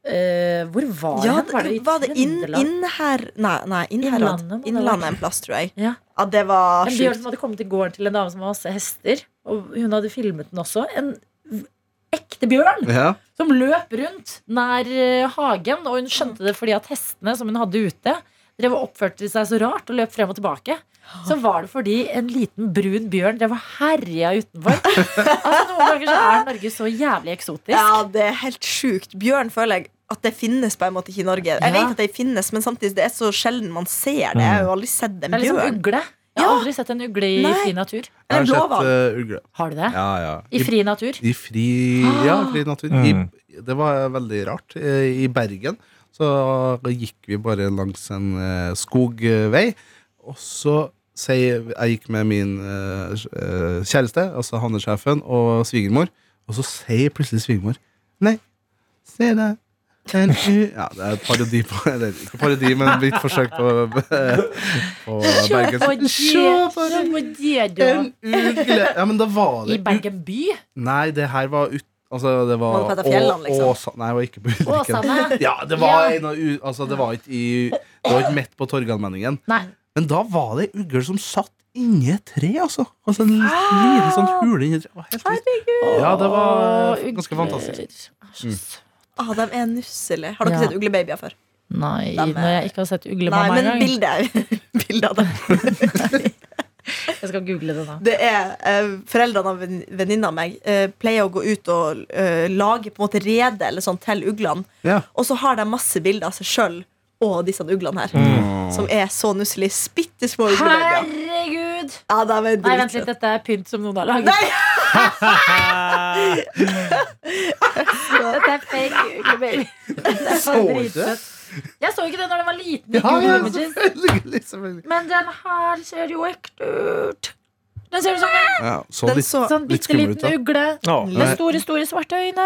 Speaker 2: eh, Hvor var
Speaker 3: ja,
Speaker 2: han? Var det i
Speaker 3: var det inn,
Speaker 2: Trøndelag?
Speaker 3: inn her Nei, nei Innherad.
Speaker 2: Innlandet må det
Speaker 3: Innlandet en plass, tror jeg.
Speaker 2: Ja.
Speaker 3: Ja, det var
Speaker 2: En bjørn
Speaker 3: sjukt.
Speaker 2: som hadde kommet i gården til en dame som har masse hester. Og hun hadde filmet den også. En v- ekte bjørn
Speaker 5: Ja.
Speaker 3: Mm.
Speaker 2: som løp rundt nær eh, hagen. Og hun skjønte det fordi at hestene som hun hadde ute, drev og oppførte seg så rart og løp frem og tilbake, så
Speaker 3: Ah.
Speaker 2: var det fordi en liten brun bjørn drev og herja
Speaker 3: (laughs)
Speaker 2: utenfor. altså Noen ganger så er Norge så jævlig eksotisk.
Speaker 3: Ja, det er helt sjukt. Bjørn føler jeg at det finnes på en måte ikke i Norge. Jeg
Speaker 2: Ja.
Speaker 3: vet at det finnes, men samtidig det er så sjelden man ser det. Jeg har jo aldri sett en
Speaker 2: Det er liksom
Speaker 3: bjørn.
Speaker 2: ugle. Jeg har
Speaker 3: Ja.
Speaker 2: aldri sett en ugle i
Speaker 3: Nei.
Speaker 2: fri natur.
Speaker 5: Jeg har
Speaker 3: Eller
Speaker 5: sett
Speaker 3: blåhval.
Speaker 5: eh, ugle.
Speaker 2: Har du det?
Speaker 5: Ja, ja.
Speaker 2: I fri natur?
Speaker 5: I fri, ja,
Speaker 2: Ah.
Speaker 5: fri natur.
Speaker 4: Mm.
Speaker 5: I, det var veldig rart. Eh, I Bergen så gikk vi bare langs en eh, skogvei, og så sier Jeg gikk med min eh, eh, kjæreste, altså handelssjefen, og svigermor, og så sier plutselig svigermor Nei, se det. Den u ja, det er et parodi på Eller ikke parodi, men litt forsøk på, eh, på Bergen.
Speaker 2: Se på det,
Speaker 5: En
Speaker 2: du.
Speaker 5: ugle! Ja, men da var
Speaker 2: I
Speaker 5: det
Speaker 2: Bergen by?
Speaker 5: Nei, det her var ut... Altså, det var
Speaker 3: Var det på et av fjellene,
Speaker 5: Å-
Speaker 3: liksom?
Speaker 5: Åsa- Nei, det var ikke på Ulriken.
Speaker 2: Åsane?
Speaker 5: Ja, det var,
Speaker 2: Ja.
Speaker 5: en av u- altså, det var ikke i Det var ikke midt på Torgallmenningen.
Speaker 2: Nei.
Speaker 5: Men da var det ei ugle som satt inni et tre, altså. Altså En liten sånn hule inni et tre. Å, helt vilt. Ja, det var eh,
Speaker 2: Åh,
Speaker 5: ganske
Speaker 2: ugler.
Speaker 5: fantastisk.
Speaker 2: Er så søt.
Speaker 3: Ah, de er nusselige. Har dere
Speaker 2: Ja.
Speaker 3: sett uglebabyer før?
Speaker 2: Nei,
Speaker 3: Dem er-
Speaker 2: når jeg ikke har sett
Speaker 3: Nei,
Speaker 2: uglemamma
Speaker 3: men
Speaker 2: engang.
Speaker 3: bildet, (laughs) bildet av dem.
Speaker 2: Jeg skal google det da.
Speaker 3: Det er eh, Foreldrene av en venninne av meg eh, pleier å gå ut og eh, lage på en måte rede eller sånn til uglene.
Speaker 5: Ja.
Speaker 3: Og så har de masse bilder av seg sjøl og disse uglene her. Som er så nusselige. Bitte små uglebabyer.
Speaker 2: Herregud!
Speaker 3: Ja, de
Speaker 2: Nei,
Speaker 3: er
Speaker 2: vent
Speaker 3: dritsøte.
Speaker 2: litt, dette er pynt som noen har laget.
Speaker 3: Nei!
Speaker 2: Dette er fake uglebaby. Det er
Speaker 5: Så
Speaker 2: for
Speaker 5: du det?
Speaker 2: dritsøtt. Jeg så ikke det når den var liten. i
Speaker 5: Ja,
Speaker 2: Google
Speaker 5: ja,
Speaker 2: Images.
Speaker 5: selvfølgelig. selvfølgelig.
Speaker 2: Men den her ser jo ekte ut. Den ser ut som en
Speaker 5: Ja, så
Speaker 3: Den
Speaker 5: litt
Speaker 3: så
Speaker 2: sånn
Speaker 5: Litt
Speaker 2: bitte
Speaker 5: skummel ut,
Speaker 2: liten
Speaker 5: da.
Speaker 2: ugle.
Speaker 4: Å,
Speaker 2: Med store, store svarte øyne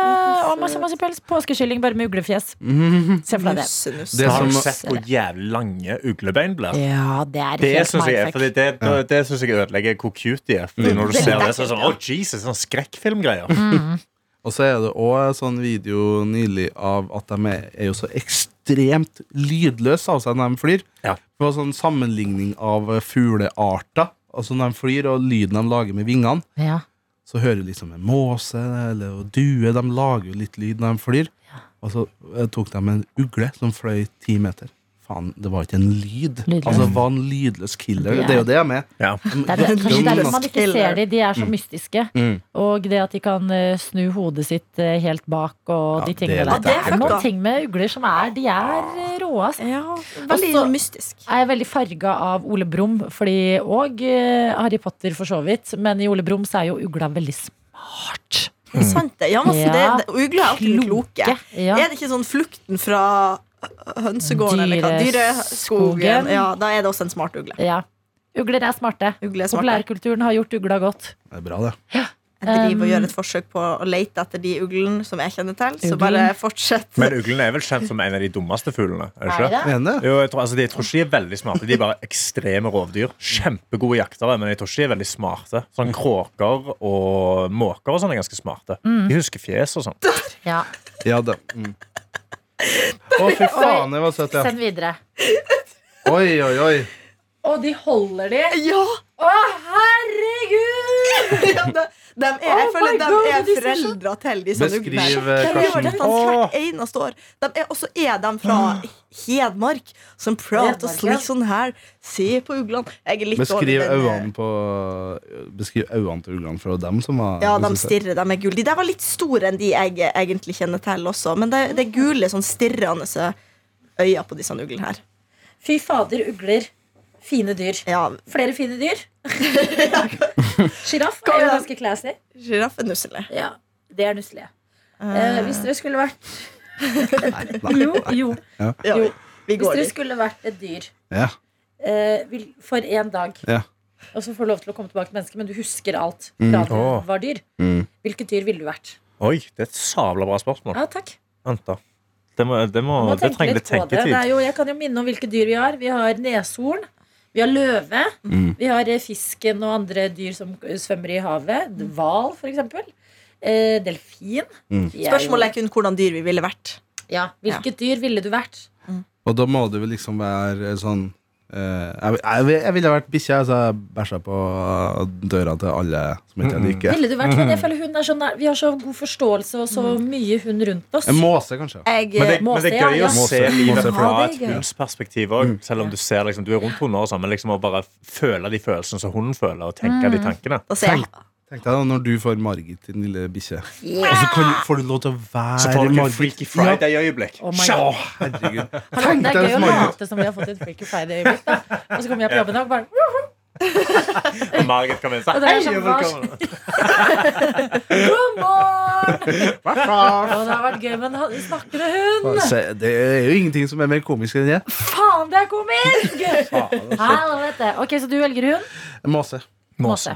Speaker 2: og masse masse pels. Påskekylling bare med uglefjes.
Speaker 5: Mhm.
Speaker 2: Se for deg det.
Speaker 3: Nusse, nusse.
Speaker 5: Det
Speaker 4: da har du
Speaker 5: som-
Speaker 4: sett hvor jævlig lange uglebein blir.
Speaker 2: Ja, det er
Speaker 4: Det
Speaker 2: helt
Speaker 4: syns jeg, er,
Speaker 2: mindfuck.
Speaker 4: fordi det, det, det synes jeg ødelegger hvor cute de er. Fordi når du ser Mm. det, så er det sånn Å, Jesus, sånn skrekkfilmgreier.
Speaker 2: Mm.
Speaker 5: Og så er det òg sånn video nylig av at de er, er jo så ekstremt lydløse av seg når de flyr.
Speaker 4: Ja.
Speaker 5: Det var sånn sammenligning av eh, fuglearter. Altså når de flyr, og lyden de lager med vingene,
Speaker 2: Ja.
Speaker 5: så hører du liksom en måse eller en due. De lager jo litt lyd når de flyr. Og så eh, tok de en ugle som fløy ti meter. Faen, det var ikke en lyd.
Speaker 2: Lydløs.
Speaker 5: Altså, det var en lydløs killer.
Speaker 2: Det er-
Speaker 5: Det er jo det jeg er med.
Speaker 4: Ja.
Speaker 2: Det er det, kanskje
Speaker 5: Lydløs
Speaker 2: derfor man ikke ser
Speaker 3: killer.
Speaker 2: dem. De er så mystiske.
Speaker 5: Mm.
Speaker 2: Og det at de kan eh, snu hodet sitt eh, helt bak og
Speaker 5: Ja,
Speaker 2: de
Speaker 5: det
Speaker 2: tingene
Speaker 5: er
Speaker 2: der.
Speaker 5: litt
Speaker 2: Det er
Speaker 3: ekkelt,
Speaker 2: noen
Speaker 3: da.
Speaker 2: ting med ugler som er De er eh, rå, ass.
Speaker 3: Ja, veldig
Speaker 2: Også-
Speaker 3: mystisk.
Speaker 2: Jeg er veldig farga av Ole Brumm, fordi og eh, Harry Potter for så vidt. Men i Ole Brumm så er jo ugla veldig smart.
Speaker 3: Mm. Sant det. Ja, men så
Speaker 2: Ja.
Speaker 3: det, det, ugler er alltid litt kloke.
Speaker 2: Ja.
Speaker 3: Er det ikke sånn flukten fra hønsegården eller hva?
Speaker 2: Dyreskogen.
Speaker 3: Dyreskogen. Ja, da er det også en smart ugle.
Speaker 2: ja. Ugler er smarte.
Speaker 3: Ugle er smart.
Speaker 2: Populærkulturen har gjort ugla godt.
Speaker 5: Det er bra, det.
Speaker 3: Jeg
Speaker 2: Um.
Speaker 3: driver og gjør et forsøk på å lete etter de uglene som jeg kjenner til. Så
Speaker 2: Uglen.
Speaker 3: bare fortsett.
Speaker 4: Men uglene er vel kjent som en av de dummeste fuglene? Er det ikke? det?
Speaker 5: Mener du?
Speaker 4: Jo, jeg tror, altså, de, jeg tror ikke de er veldig smarte. De er bare ekstreme rovdyr. Kjempegode jaktere, men jeg tror ikke de er veldig smarte. Sånn Kråker og måker og sånn er ganske smarte.
Speaker 2: Mm.
Speaker 4: De husker fjes og sånn.
Speaker 2: Ja.
Speaker 5: Ja, det. Mm. Å, fy faen, det var søtt, ja.
Speaker 2: Send videre.
Speaker 5: Oi, oi, oi.
Speaker 2: Og de holder de!
Speaker 3: Ja!
Speaker 2: Å, herregud!
Speaker 3: (laughs) ja de, de er, jeg
Speaker 2: Oh my
Speaker 3: føler de
Speaker 2: God,
Speaker 3: er
Speaker 2: de ser så-
Speaker 3: foreldra til disse
Speaker 5: Beskriv,
Speaker 3: uglene.
Speaker 5: eh,
Speaker 3: De gjør
Speaker 5: Karsten.
Speaker 3: dette hvert eneste år. De er, og så er de fra Hedmark, som prater
Speaker 2: Hedmark, ja.
Speaker 3: slik sånn her. Se på uglene. Jeg er litt
Speaker 5: Beskriv
Speaker 3: dårlig, men, eh,
Speaker 5: øynene på Beskriv øynene til uglene for dem som var
Speaker 3: Ja, de
Speaker 5: synes jeg.
Speaker 3: stirrer, de er gule. De der var litt store enn de jeg egentlig kjenner til også. Men det, det er gule, sånn stirrende så øyne på disse uglene her.
Speaker 2: Fy fader, ugler. Fine dyr.
Speaker 3: Ja,
Speaker 2: Flere fine dyr. Sjiraff
Speaker 3: Kom
Speaker 2: er jo
Speaker 3: igjen.
Speaker 2: ganske classy.
Speaker 3: sjiraff er nusselig.
Speaker 2: Ja, det er nusselige. Eh, hvis dere skulle vært Jo, jo.
Speaker 3: Ja,
Speaker 2: Jo.
Speaker 3: vi
Speaker 2: Hvis
Speaker 3: går
Speaker 2: dere
Speaker 3: dit.
Speaker 2: skulle vært et dyr
Speaker 5: Ja.
Speaker 2: eh, vil- for én dag,
Speaker 5: Ja.
Speaker 2: og så får du lov til å komme tilbake til mennesket, men du husker alt fra du
Speaker 4: Åh.
Speaker 2: var dyr,
Speaker 5: Mm.
Speaker 2: hvilket dyr ville du vært?
Speaker 4: Oi, det er et sabla bra spørsmål.
Speaker 2: Ja, takk.
Speaker 4: Vent, da. Det, må, det, må,
Speaker 2: Man må
Speaker 4: det
Speaker 2: tenke litt
Speaker 4: trenger litt
Speaker 2: på det. det
Speaker 4: tenketid.
Speaker 2: er jo, jeg kan jo minne om hvilke dyr vi har. Vi har neshorn. Vi har løve.
Speaker 5: Mm.
Speaker 2: Vi har eh, fisken og andre dyr som svømmer i havet. Hval, for eksempel. Eh, delfin.
Speaker 5: Mm.
Speaker 2: De er jo-
Speaker 3: Spørsmålet er kun hvordan dyr vi ville vært.
Speaker 2: Ja, Hvilket dyr ville du vært?
Speaker 5: Og da må det vel liksom være sånn Eh, jeg, jeg, jeg ville vært bikkje, så jeg bæsja på døra til alle som ikke jeg liker.
Speaker 2: Ville du vært
Speaker 5: Mm.
Speaker 2: hund? Jeg føler hun er så nær, Vi har så god forståelse og så mye hund rundt oss.
Speaker 5: En måse, kanskje.
Speaker 3: Jeg,
Speaker 4: Men det,
Speaker 2: Måse,
Speaker 4: men det
Speaker 2: ja,
Speaker 4: er gøy
Speaker 2: ja.
Speaker 4: å se
Speaker 5: Måse,
Speaker 4: livet
Speaker 5: måse,
Speaker 4: fra
Speaker 2: ja,
Speaker 4: et
Speaker 2: det er gøy.
Speaker 4: hundsperspektiv òg. Selv om du ser liksom, du er rundt hunder, og sånn, men liksom å bare føle de følelsene som hunden føler, og tenke
Speaker 2: Mm.
Speaker 4: de tankene.
Speaker 3: da sier jeg
Speaker 5: Tenk deg da når du får Margit, din lille bikkje. Og så kan, får du lov til å være
Speaker 4: Så får dere
Speaker 5: Margit.
Speaker 4: en Freaky Friday-øyeblikk.
Speaker 2: Oh my
Speaker 5: Ja.
Speaker 2: God.
Speaker 5: Å, herregud.
Speaker 2: Hallo, det
Speaker 5: deg
Speaker 2: er gøy
Speaker 5: hvis
Speaker 2: å
Speaker 5: Margaret-
Speaker 2: late som vi har fått et freaky friday-øyeblikk. da. Og så kommer jeg på jobben og bare
Speaker 4: Og Margit kan vinne
Speaker 2: Og
Speaker 4: seg.
Speaker 2: det er sånn, hva God morgen! Og det har vært gøy med en ha- snakkende hund.
Speaker 5: Se, Det er jo ingenting som er mer komisk enn det.
Speaker 2: Faen, det er komisk! Helvete. Ok, Så du velger hund?
Speaker 5: En Måse.
Speaker 2: Måse.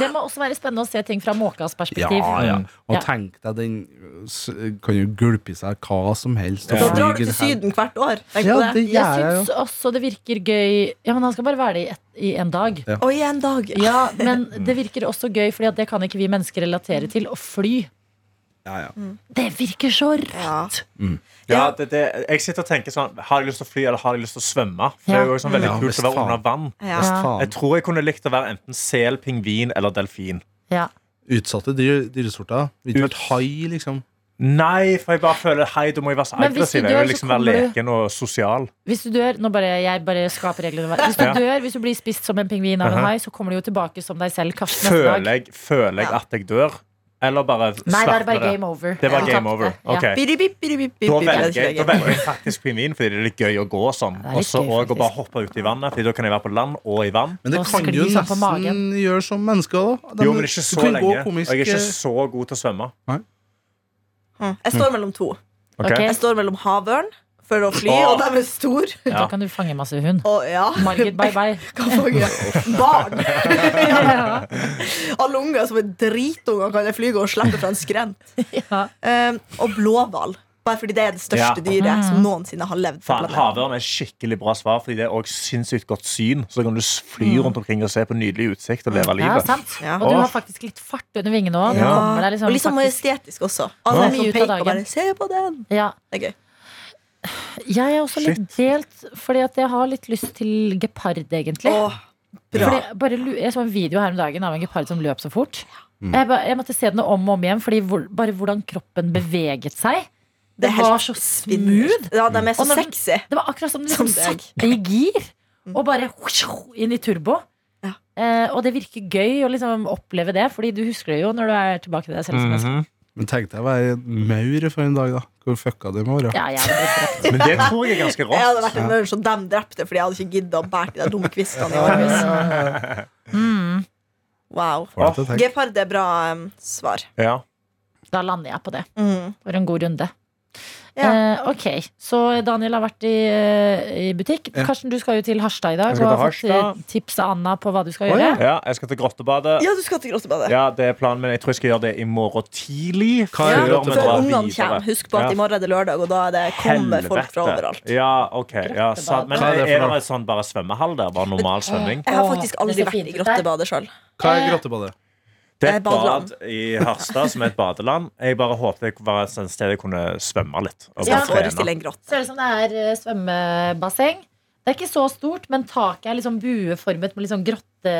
Speaker 2: Det må også være spennende å se ting fra måkas
Speaker 5: Ja,
Speaker 2: perspektiv.
Speaker 5: ja. Og
Speaker 2: Ja.
Speaker 5: tenk deg, den s- kan jo gulpe i seg hva som helst. og
Speaker 3: Da drar
Speaker 5: flyge
Speaker 3: du til
Speaker 5: hen.
Speaker 3: Syden hvert år. Tenk
Speaker 5: Ja,
Speaker 3: på det.
Speaker 5: det gjør
Speaker 2: Jeg
Speaker 5: jeg
Speaker 2: syns
Speaker 5: jo.
Speaker 2: også det virker gøy Ja, men han skal bare være det i, et, i en dag.
Speaker 5: Ja.
Speaker 3: Og i en dag.
Speaker 2: Ja, Men det virker også gøy, Fordi at det kan ikke vi mennesker relatere til. Å fly.
Speaker 5: Ja, ja.
Speaker 3: Mm.
Speaker 2: Det virker så rart.
Speaker 3: Ja.
Speaker 4: Ja, det, det, jeg sitter og tenker sånn Har jeg lyst til å fly, eller har jeg lyst til å svømme? For det er jo sånn veldig
Speaker 5: Ja,
Speaker 4: kult
Speaker 5: visst
Speaker 4: å være
Speaker 5: faen.
Speaker 4: under vann.
Speaker 3: Ja.
Speaker 5: Best faen.
Speaker 4: Jeg tror jeg kunne likt å være enten sel, pingvin eller delfin.
Speaker 2: Ja.
Speaker 5: Utsatte dyr, dyresorter. Ville ikke vært hai, liksom.
Speaker 4: Nei, for jeg bare føler Hei, du må jo være så
Speaker 2: Men hvis du
Speaker 4: aggressiv. Jeg
Speaker 2: dør,
Speaker 4: vil
Speaker 2: så
Speaker 4: liksom være
Speaker 2: kommer du-
Speaker 4: leken og sosial.
Speaker 2: Hvis du dør Nå bare, jeg bare skaper reglene. Hvis du
Speaker 4: Ja.
Speaker 2: dør, hvis du blir spist som en pingvin av en
Speaker 4: Mhm.
Speaker 2: hai, så kommer du jo tilbake som deg selv. Karsten neste
Speaker 4: Føler
Speaker 2: dag.
Speaker 4: jeg, føler jeg
Speaker 3: Ja.
Speaker 4: at jeg dør? Eller bare
Speaker 2: Nei, da er det
Speaker 4: slapper
Speaker 2: bare game over.
Speaker 4: Det var
Speaker 2: Ja.
Speaker 4: game over.
Speaker 2: Ja.
Speaker 4: Ok.
Speaker 3: Biribip, biribip, biribip,
Speaker 4: Da
Speaker 3: biribip.
Speaker 4: velger, jeg, da velger jeg faktisk pingvin, fordi det er litt gøy å gå sånn.
Speaker 2: Det er litt
Speaker 4: Og så
Speaker 2: gøy,
Speaker 4: også å bare
Speaker 2: faktisk.
Speaker 4: hoppe ut i vannet, Fordi da kan jeg være på land og i vann.
Speaker 5: Men det
Speaker 2: Og
Speaker 5: kan du jo
Speaker 2: skli på
Speaker 5: nesten
Speaker 2: magen.
Speaker 5: gjøre som mennesker òg.
Speaker 4: Jo, men ikke så lenge. Og jeg er ikke så god til å svømme.
Speaker 3: Mm. Jeg står mellom to.
Speaker 4: Ok?
Speaker 2: Ok.
Speaker 3: Jeg står mellom havørn for å fly,
Speaker 4: Åh.
Speaker 3: og de er store.
Speaker 2: Da kan du fange masse
Speaker 4: (laughs)
Speaker 2: hund.
Speaker 3: Og ja,
Speaker 2: Margit, bye bye.
Speaker 3: kan fange barn. Alle unger som er dritunger, kan jeg flyge og slippe fra en skrent.
Speaker 2: Ja.
Speaker 3: Um, og blåhval. Bare fordi det er det største
Speaker 4: Ja.
Speaker 2: Mm.
Speaker 3: dyret som noensinne har levd. på
Speaker 4: Faen,
Speaker 3: planeten.
Speaker 4: Havørn er et skikkelig bra svar, fordi det er også sinnssykt godt syn. Så kan du s- fly rundt omkring og se på nydelig utsikt og leve
Speaker 2: Mm. Ja,
Speaker 4: livet.
Speaker 2: sant.
Speaker 3: Ja.
Speaker 2: Og du har faktisk litt fart under vingene òg.
Speaker 3: Ja.
Speaker 2: Ja. Liksom,
Speaker 3: og litt sånn
Speaker 2: faktisk-
Speaker 3: majestetisk også. Alle
Speaker 2: Ja. Mye ut
Speaker 3: som
Speaker 2: av
Speaker 3: peker
Speaker 2: dagen.
Speaker 3: og bare 'se på den'.
Speaker 2: ja.
Speaker 3: Det er gøy.
Speaker 2: Jeg er også litt delt, fordi at jeg har litt lyst til gepard, egentlig.
Speaker 3: Åh, bra.
Speaker 2: Fordi jeg, bare, lu- jeg så en video her om dagen av en gepard som løp så fort. Jeg, ba, jeg måtte se den om og om igjen, Fordi hvor, bare hvordan kroppen beveget seg. Det,
Speaker 3: er helt
Speaker 2: var så smooth.
Speaker 3: spinnvilt. Ja, de er så
Speaker 2: Og når den-
Speaker 3: sexy.
Speaker 2: Det var akkurat som den liksom
Speaker 3: Som deg.
Speaker 2: satte i gir, og bare inn i turbo.
Speaker 3: Ja.
Speaker 2: Eh, og det virker gøy å liksom oppleve det, Fordi du husker det jo når du er tilbake til deg selv. som menneske.
Speaker 4: Mhm.
Speaker 5: Men tenk deg å være maur for en dag, da. Hvor fucka det må være.
Speaker 2: Ja, jeg hadde blitt drept.
Speaker 4: Men det tror jeg er
Speaker 2: (laughs)
Speaker 4: ganske
Speaker 3: Jeg hadde
Speaker 4: rått.
Speaker 3: vært en maur som dem drepte, fordi jeg hadde ikke giddet å bære de der dumme kvistene i årevis.
Speaker 2: Mm,
Speaker 3: Wow.
Speaker 5: Får deg til å tenke.
Speaker 3: Gepard er bra um, svar.
Speaker 4: Ja.
Speaker 2: da lander jeg på det.
Speaker 3: Mm.
Speaker 2: For en god runde.
Speaker 3: Ja.
Speaker 2: Eh, ok, Så Daniel har vært i, eh, i butikk.
Speaker 5: Ja.
Speaker 2: Karsten, du skal jo til Harstad i dag.
Speaker 4: Jeg skal
Speaker 2: Og
Speaker 4: til
Speaker 2: har fått
Speaker 4: Harstad.
Speaker 2: eh, tips av Anna på hva du skal
Speaker 5: Å,
Speaker 2: gjøre.
Speaker 5: ja.
Speaker 4: ja, jeg skal til Grottebadet.
Speaker 3: Ja, du skal til Grottebadet.
Speaker 4: (laughs) Ja, det er planen min. Jeg tror jeg skal gjøre det i morgen tidlig.
Speaker 5: Hva er
Speaker 4: før
Speaker 5: Grottebadet?
Speaker 4: vi
Speaker 3: Før
Speaker 4: drar
Speaker 3: ungene
Speaker 4: videre.
Speaker 3: kommer. Husk på at
Speaker 4: Ja.
Speaker 3: i morgen er det lørdag, og da er det kommer folk fra
Speaker 4: Helvete.
Speaker 3: overalt.
Speaker 4: Ja, ok. Ja, sant. Men
Speaker 5: Hva er
Speaker 4: er
Speaker 5: det for
Speaker 4: det
Speaker 5: noe?
Speaker 4: en sånn bare svømmehall der? Bare normal
Speaker 3: Eh,
Speaker 4: svømming?
Speaker 3: Jeg har
Speaker 2: Åh,
Speaker 3: faktisk
Speaker 2: det
Speaker 3: aldri
Speaker 2: er så
Speaker 3: vært i
Speaker 2: fint ut der.
Speaker 3: grottebadet sjøl.
Speaker 5: Hva er grottebadet?
Speaker 4: Det er et
Speaker 3: Eh, badeland.
Speaker 4: bad i Harstad som er et badeland. Jeg bare håpet det var et sånt sted jeg kunne svømme litt. Og
Speaker 3: Skal
Speaker 4: bare
Speaker 2: Ja.
Speaker 3: forestille
Speaker 4: trene.
Speaker 3: en grott.
Speaker 2: Ser ut som det er eh, svømmebasseng. Det er ikke så stort, men taket er liksom bueformet med liksom grotte...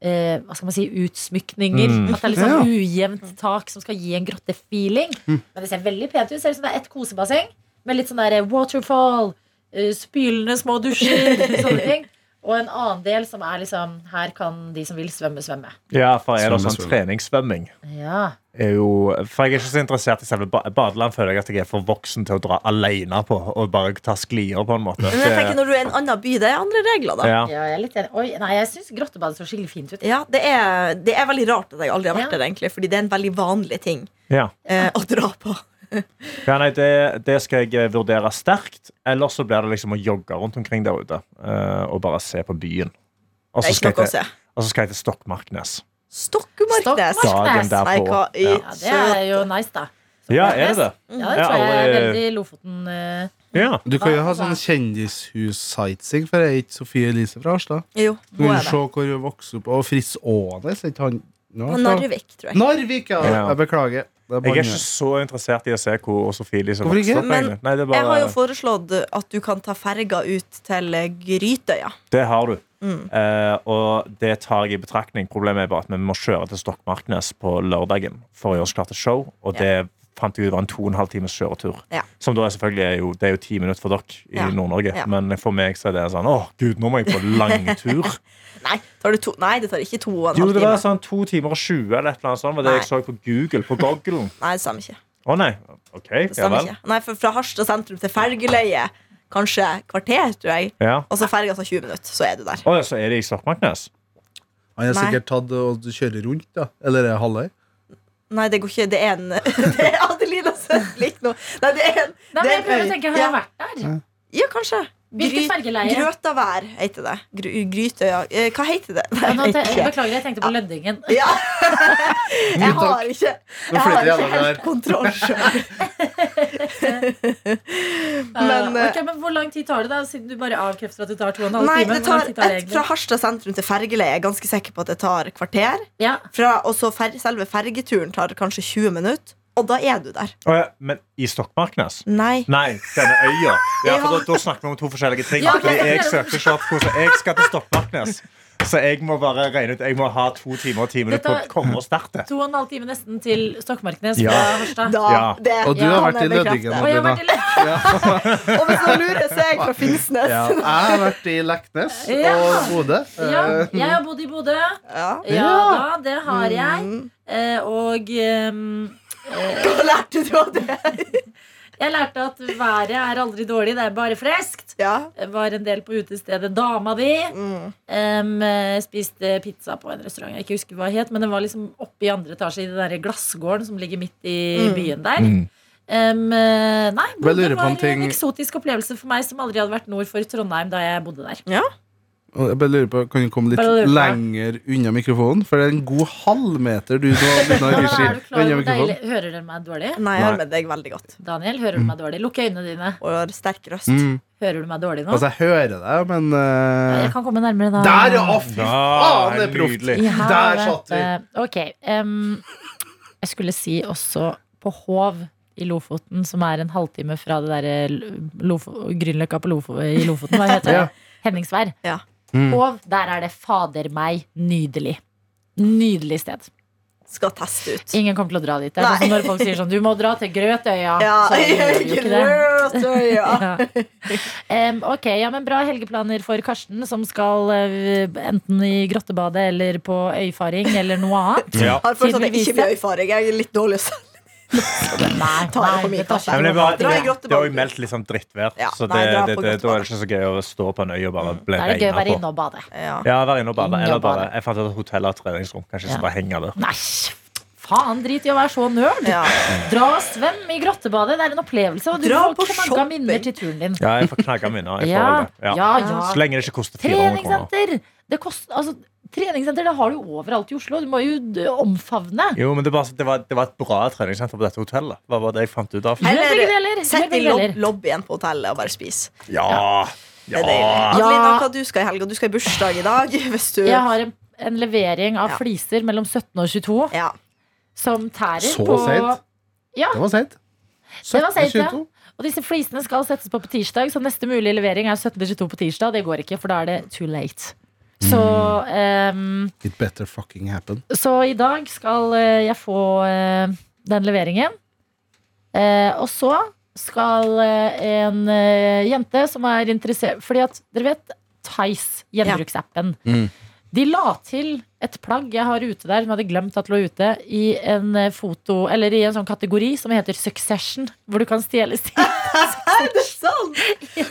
Speaker 2: Eh, hva skal man si, utsmykninger.
Speaker 4: Mm.
Speaker 2: At det er litt sånn ujevnt tak som skal gi en grottefeeling. Men det ser veldig pent ut. Ser ut som det er ett kosebasseng med litt sånn der eh, waterfall, eh, spylende små dusjer, (laughs) sånne ting. Og en annen del som er liksom Her kan de som vil svømme, svømme.
Speaker 4: Ja, for er det
Speaker 5: Svømme,
Speaker 4: sånn
Speaker 5: svømme.
Speaker 4: treningssvømming?
Speaker 2: Ja.
Speaker 4: er jo For jeg er ikke så interessert i selve ba- badeland. Føler jeg at jeg er for voksen til å dra alene på og bare ta sklier, på en måte.
Speaker 3: Men jeg tenker når du er i en annen by, det er andre regler, da.
Speaker 4: ja.
Speaker 2: ja, jeg er litt enig. Oi, nei, jeg syns grottebadet så skikkelig fint ut.
Speaker 3: Ja, det er, det er veldig rart at jeg aldri har vært
Speaker 2: Ja.
Speaker 3: der, egentlig, fordi det er en veldig vanlig ting
Speaker 4: Ja.
Speaker 3: eh, å dra på.
Speaker 4: ja, nei, det, det skal jeg eh, vurdere sterkt. Ellers så blir det liksom å jogge rundt omkring der ute eh, og bare se på byen. Og
Speaker 3: Det
Speaker 4: så
Speaker 3: er ikke
Speaker 4: skal,
Speaker 3: noe å
Speaker 4: jeg til-
Speaker 3: se.
Speaker 4: og så skal jeg til Stokmarknes.
Speaker 3: Stokkemarknes!
Speaker 2: Stokmarknes.
Speaker 4: Dagen
Speaker 3: Nei, hva
Speaker 4: derpå.
Speaker 3: i
Speaker 2: Ja, det er jo nice, da.
Speaker 4: Ja, er det det?
Speaker 2: Ja, det
Speaker 4: Jeg
Speaker 2: tror jeg er
Speaker 4: aldri-
Speaker 2: veldig Lofoten. eh,
Speaker 4: Ja.
Speaker 5: Du kan jo ha sånn kjendishus-sightseeing, for jeg er ikke Sofie Elise fra Harstad.
Speaker 3: søt- Jo,
Speaker 5: Du
Speaker 3: hun
Speaker 5: kan jo
Speaker 3: er det.
Speaker 5: se hvor hun vokste opp. Og Fritz Aanes, ikke han? Nå,
Speaker 3: På Narvik, tror jeg.
Speaker 5: Narvik, ja.
Speaker 4: Ja.
Speaker 5: Jeg beklager. Det er
Speaker 4: Jeg er
Speaker 5: bare
Speaker 4: ikke så interessert i å se hvor Sofie Elise
Speaker 5: Hvorfor
Speaker 4: vokste
Speaker 5: ikke?
Speaker 4: opp. egentlig. Nei, det, er
Speaker 3: Jeg har jo
Speaker 4: bare,
Speaker 3: foreslått at du kan ta ferga ut til eh, Grytøya.
Speaker 4: det har du.
Speaker 3: Mm.
Speaker 4: Eh, og det tar jeg i betraktning. Problemet er bare at vi må kjøre til Stokmarknes på lørdagen for å gjøre oss klar til show. Og det fant jeg ut var en to og en halv times kjøretur.
Speaker 3: Ja.
Speaker 4: Som da er selvfølgelig er jo, det er jo ti minutter for dere i
Speaker 3: Ja.
Speaker 4: Nord-Norge.
Speaker 3: Ja.
Speaker 4: Men for meg så er det sånn Å, gud, nå må jeg på
Speaker 3: (laughs)
Speaker 4: langtur.
Speaker 3: Nei, tar det, to, nei, det tar ikke to og en
Speaker 4: jo,
Speaker 3: halv
Speaker 4: det
Speaker 3: time.
Speaker 4: var sånn to timer og 20 eller et eller annet sånt. var Det jeg så på Google, på gogglen.
Speaker 3: Nei, det stemmer ikke.
Speaker 4: Å nei. OK,
Speaker 3: Det
Speaker 4: ja
Speaker 3: stemmer
Speaker 4: vel.
Speaker 3: ikke. Nei, for fra Harstad sentrum til fergeleie, kanskje kvarter, tror jeg.
Speaker 4: Ja.
Speaker 3: Og så ferga tar 20 minutter, så er du der.
Speaker 4: Å, ja, så er det i Stokmarknes?
Speaker 5: Han er
Speaker 3: Nei.
Speaker 5: sikkert tatt og kjører rundt, da. Eller er det halvøy?
Speaker 3: Nei, det går ikke. Det er en (laughs) Det er Adelina Søvlik nå. Nei, det er en
Speaker 2: Nei, men
Speaker 3: det er
Speaker 2: jeg prøver å
Speaker 3: en øy.
Speaker 2: tenke, Har jeg
Speaker 3: ja.
Speaker 2: vært der?
Speaker 3: ja, kanskje.
Speaker 2: Hvilken
Speaker 3: Gry-
Speaker 2: fergeleie?
Speaker 3: Grøtavær heter det. Gry, Grytøya eh, Hva heter det? Nei,
Speaker 2: Ja, nå te
Speaker 3: jeg vet ikke.
Speaker 2: beklager, jeg tenkte på Lødingen.
Speaker 3: Ja. Jeg har ikke, jeg
Speaker 5: flytter
Speaker 3: har
Speaker 5: jeg
Speaker 3: ikke
Speaker 5: gjennom
Speaker 3: helt
Speaker 5: her.
Speaker 3: kontroll sjøl. Men,
Speaker 2: Eh,
Speaker 3: eh,
Speaker 2: ok, men Hvor lang tid tar det, da? Siden du bare avkrefter at det tar to og en halv
Speaker 3: Nei,
Speaker 2: time.
Speaker 3: det
Speaker 2: Hvor lang
Speaker 3: tar
Speaker 2: tid tar det
Speaker 3: et,
Speaker 2: egentlig?
Speaker 3: fra Harstad sentrum til Fergeleie. Jeg er ganske sikker på at det tar kvarter.
Speaker 2: Ja.
Speaker 3: Fra, og så fer, selve fergeturen tar kanskje 20 minutter. Og da er du der.
Speaker 4: Å, ja. Men i Stokmarknes?
Speaker 3: Nei.
Speaker 4: Nei, denne øya. Ja, for
Speaker 3: Ja.
Speaker 4: da, da snakker vi om to forskjellige ting.
Speaker 2: Ja, ok,
Speaker 4: fordi
Speaker 2: jeg
Speaker 4: jeg
Speaker 2: skjønner.
Speaker 4: søkte ikke opp hvordan jeg skal til Stokmarknes. Så jeg må bare regne ut Jeg må ha to timer og ti minutter på
Speaker 2: Dette-
Speaker 4: å komme og starte.
Speaker 2: To og en halv time nesten til Stokmarknes.
Speaker 4: Ja.
Speaker 2: fra Harstad.
Speaker 3: Da,
Speaker 4: Ja.
Speaker 3: det,
Speaker 5: Og du
Speaker 2: Ja,
Speaker 5: har
Speaker 3: kan
Speaker 5: vært i
Speaker 3: jeg bekrefte.
Speaker 5: Lødingen.
Speaker 2: Og jeg har vært i Lø-
Speaker 3: Og hvis noen lurer, så er jeg
Speaker 5: (laughs)
Speaker 3: fra
Speaker 2: (laughs)
Speaker 3: Finnsnes.
Speaker 5: (laughs) Ja, jeg har vært i Leknes
Speaker 2: Ja.
Speaker 5: og Bodø.
Speaker 2: ja,
Speaker 5: Eh,
Speaker 2: jeg har bodd i Bodø.
Speaker 3: Ja.
Speaker 2: Ja da,
Speaker 5: Ja.
Speaker 2: det har jeg.
Speaker 3: Mm.
Speaker 2: Eh, Og ehm,
Speaker 3: Hva lærte du av det?
Speaker 2: jeg lærte at været er aldri dårlig, det er bare friskt.
Speaker 3: Ja.
Speaker 2: Var en del på utestedet Dama di.
Speaker 3: Mm.
Speaker 2: Em, eh, spiste pizza på en restaurant jeg ikke husker hva det het, men den var liksom oppe i andre etasje i den der glassgården som ligger midt i
Speaker 3: Mm.
Speaker 2: byen der.
Speaker 4: Mm.
Speaker 2: Em, eh, nei,
Speaker 5: Bare lurer
Speaker 2: det
Speaker 5: på
Speaker 2: var
Speaker 5: en ting.
Speaker 2: en eksotisk opplevelse for meg som aldri hadde vært nord for Trondheim da jeg bodde der.
Speaker 5: Og Jeg bare lurer på, Kan du komme litt
Speaker 2: Bare lurer på.
Speaker 5: lenger unna mikrofonen? For det er en god halvmeter du nå begynner å
Speaker 2: Nå
Speaker 5: regi
Speaker 2: er du klar,
Speaker 5: unna
Speaker 2: over-
Speaker 5: mikrofonen.
Speaker 2: deilig. Hører dere meg dårlig?
Speaker 3: Nei, jeg
Speaker 4: Nei.
Speaker 3: hører med deg veldig godt.
Speaker 2: Daniel, hører du meg dårlig? Lukk øynene dine.
Speaker 3: Og har sterk røst.
Speaker 5: Mm.
Speaker 2: Hører du meg dårlig nå?
Speaker 5: Altså, jeg hører deg, men eh,
Speaker 2: Jeg kan komme nærmere da.
Speaker 5: Der, ja! Fy
Speaker 4: Ja,
Speaker 5: faen, det er proft!
Speaker 4: nydelig.
Speaker 2: I
Speaker 5: Der
Speaker 2: helvete.
Speaker 5: satt vi.
Speaker 2: eh, Ok. em, jeg skulle si også på Hov i Lofoten, som er en halvtime fra det derre Lofo- Grünerløkka på Lofo, i Lofoten. Hva heter det?
Speaker 5: (laughs) Ja.
Speaker 2: Henningsvær.
Speaker 3: Ja.
Speaker 5: Mm.
Speaker 2: Hov, der er det fader meg nydelig. Nydelig sted.
Speaker 3: Skal teste ut.
Speaker 2: Ingen kommer til å dra dit. Det er sånn som når folk sier sånn Du må dra til Grøtøya.
Speaker 3: Ja,
Speaker 2: Så gjør de jo ikke det.
Speaker 3: (laughs) Grøtøya.
Speaker 2: Ja. Em, ok, ja, men Bra helgeplaner for Karsten, som skal eh, enten i grottebadet eller på øyfaring eller noe annet.
Speaker 4: Ja.
Speaker 3: Har fortsatt jeg ikke
Speaker 2: Tydeligvis.
Speaker 3: blir øyfaring. Jeg er litt dårlig å selge.
Speaker 2: Nei,
Speaker 3: Ta det
Speaker 2: nei,
Speaker 3: for mye,
Speaker 2: det tar
Speaker 4: Nei,
Speaker 2: ikke
Speaker 4: men det, er bare,
Speaker 3: Dra i
Speaker 4: det, det har jo
Speaker 3: grottebadet.
Speaker 4: meldt litt sånn drittvær,
Speaker 3: Ja,
Speaker 4: så det,
Speaker 3: nei, dra på
Speaker 4: det, det, da er
Speaker 3: grottebadet.
Speaker 4: det ikke så gøy å stå på en øy og bare
Speaker 2: Da
Speaker 4: bli
Speaker 2: er det gøy å være
Speaker 4: regna på.
Speaker 2: inne og bade.
Speaker 3: Ja.
Speaker 4: Ja, være inne og bade.
Speaker 2: Inne
Speaker 4: Eller
Speaker 2: og bade.
Speaker 4: bare Jeg fant ut at hotellet har treningsrom. Kanskje jeg skal
Speaker 2: Ja.
Speaker 4: bare henge der.
Speaker 2: Næsj! Faen, drit i å være så nerd.
Speaker 3: Ja.
Speaker 2: Dra og svøm i grottebadet. Det er en opplevelse. Og du
Speaker 3: Dra på
Speaker 2: får knagga
Speaker 3: shopping.
Speaker 2: minner til turen din.
Speaker 4: Ja, jeg får knagga minner. Jeg får
Speaker 2: Ja,
Speaker 4: vel det.
Speaker 2: ja,
Speaker 4: Ja.
Speaker 2: ja.
Speaker 4: Så lenge det ikke koster 400 kroner.
Speaker 2: Treningssenter! Det kost, altså, treningssenter det har du overalt i Oslo. Du må jo d- omfavne.
Speaker 4: Jo, men det, var, det, var, det var et bra treningssenter på dette hotellet. Hva var det jeg fant ut av?
Speaker 2: Gjør
Speaker 3: Eller-
Speaker 2: begge deler. Gjør
Speaker 3: Sett i
Speaker 2: begge
Speaker 3: lob
Speaker 2: deler.
Speaker 3: lobbyen på hotellet og bare spis.
Speaker 4: Ja!
Speaker 3: Det er deilig.
Speaker 4: ja.
Speaker 2: Ja.
Speaker 3: Adelina, hva du skal i helga? Du skal i bursdag i dag. (laughs) Hvis du
Speaker 2: Jeg har en, en levering av
Speaker 3: Ja.
Speaker 2: fliser mellom 17 og 22
Speaker 3: ja.
Speaker 2: som tærer
Speaker 5: Så
Speaker 2: på
Speaker 5: sent?
Speaker 2: Ja.
Speaker 5: Det var seint.
Speaker 2: Det var seint, ja.
Speaker 5: 17.22.
Speaker 2: Og disse flisene skal settes på på tirsdag, så neste mulige levering er 17.22 på tirsdag. Det går ikke, for da er det too late. Så,
Speaker 4: Mm.
Speaker 2: ehm,
Speaker 5: It better fucking happen.
Speaker 2: så i dag skal eh, jeg få eh, den leveringen. Eh, og så skal eh, en eh, jente som er interessert Fordi at, dere vet, Tice, gjenbruksappen.
Speaker 5: Mm.
Speaker 2: De la til et plagg jeg har ute der, som jeg hadde glemt at lå ute, i en eh, foto, eller i en sånn kategori som heter Succession, hvor du kan stjele stil.
Speaker 3: Er det sant?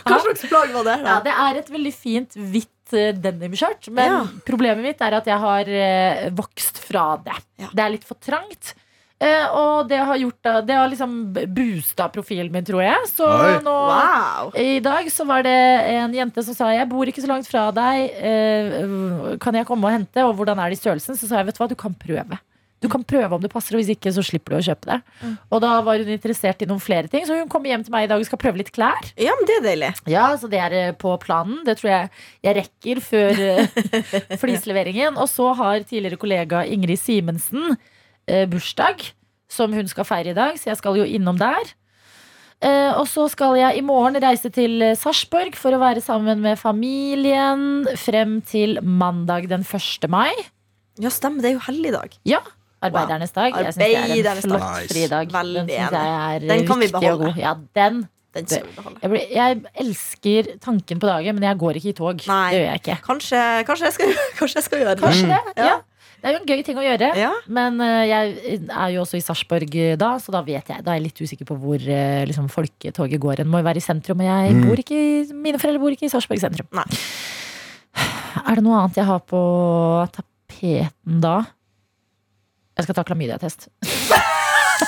Speaker 3: Hva slags plagg var det?
Speaker 2: Sånn. Ja,
Speaker 3: Da?
Speaker 2: det er et veldig fint hvitt eh, denimskjørt, men
Speaker 3: Ja.
Speaker 2: problemet mitt er at jeg har eh, vokst fra det.
Speaker 3: Ja.
Speaker 2: Det er litt for trangt. eh, og det har, gjort, da- det har liksom boosta profilen min, tror jeg. Så
Speaker 5: Oi.
Speaker 2: nå
Speaker 3: Wow.
Speaker 2: I dag så var det en jente som sa Jeg bor ikke så langt fra deg eh, Kan jeg komme og hente, og hvordan er det i størrelsen? Så sa jeg, vet du hva, du kan prøve Du kan prøve om det passer, og hvis ikke så slipper du å kjøpe det
Speaker 3: Mm.
Speaker 2: Og da var hun interessert i noen flere ting Så hun kommer hjem til meg i dag og skal prøve litt klær
Speaker 3: Ja, men det er deilig.
Speaker 2: Ja, så det er eh, på planen Det tror jeg jeg rekker før
Speaker 3: (laughs)
Speaker 2: eh, flisleveringen Og så har tidligere kollega Ingrid Simensen eh, bursdag som hun skal feire i dag, så jeg skal jo innom der. Eh, og så skal jeg i morgen reise til eh, Sarpsborg for å være sammen med familien frem til mandag den 1. mai.
Speaker 3: Ja, stemmer. Det er jo helligdag.
Speaker 2: Ja, arbeidernes dag. Jeg synes det er en
Speaker 3: Arbeidernes dag.
Speaker 2: flott
Speaker 5: Nice.
Speaker 2: fridag.
Speaker 3: Veldig
Speaker 2: den synes jeg er
Speaker 3: Den kan vi
Speaker 2: viktig og
Speaker 3: beholde.
Speaker 2: god. Ja, den.
Speaker 3: Den skal vi beholde.
Speaker 2: Jeg, blir, jeg elsker tanken på dagen, men jeg går ikke i tog.
Speaker 3: Nei.
Speaker 2: Det gjør jeg ikke.
Speaker 3: Kanskje, kanskje, jeg, skal, (laughs) kanskje jeg skal gjøre det.
Speaker 2: Kanskje det.
Speaker 3: Ja.
Speaker 2: Ja. Det er jo en gøy ting å gjøre.
Speaker 3: Ja.
Speaker 2: Men eh, jeg er jo også i Sarpsborg eh, da, så da vet jeg Da er jeg litt usikker på hvor eh, liksom, folketoget går. En må jo være i sentrum, og jeg bor ikke, i- mine foreldre bor ikke i Sarpsborg sentrum.
Speaker 3: Nei.
Speaker 2: Er det noe annet jeg har på tapeten da? Jeg skal ta klamydiatest.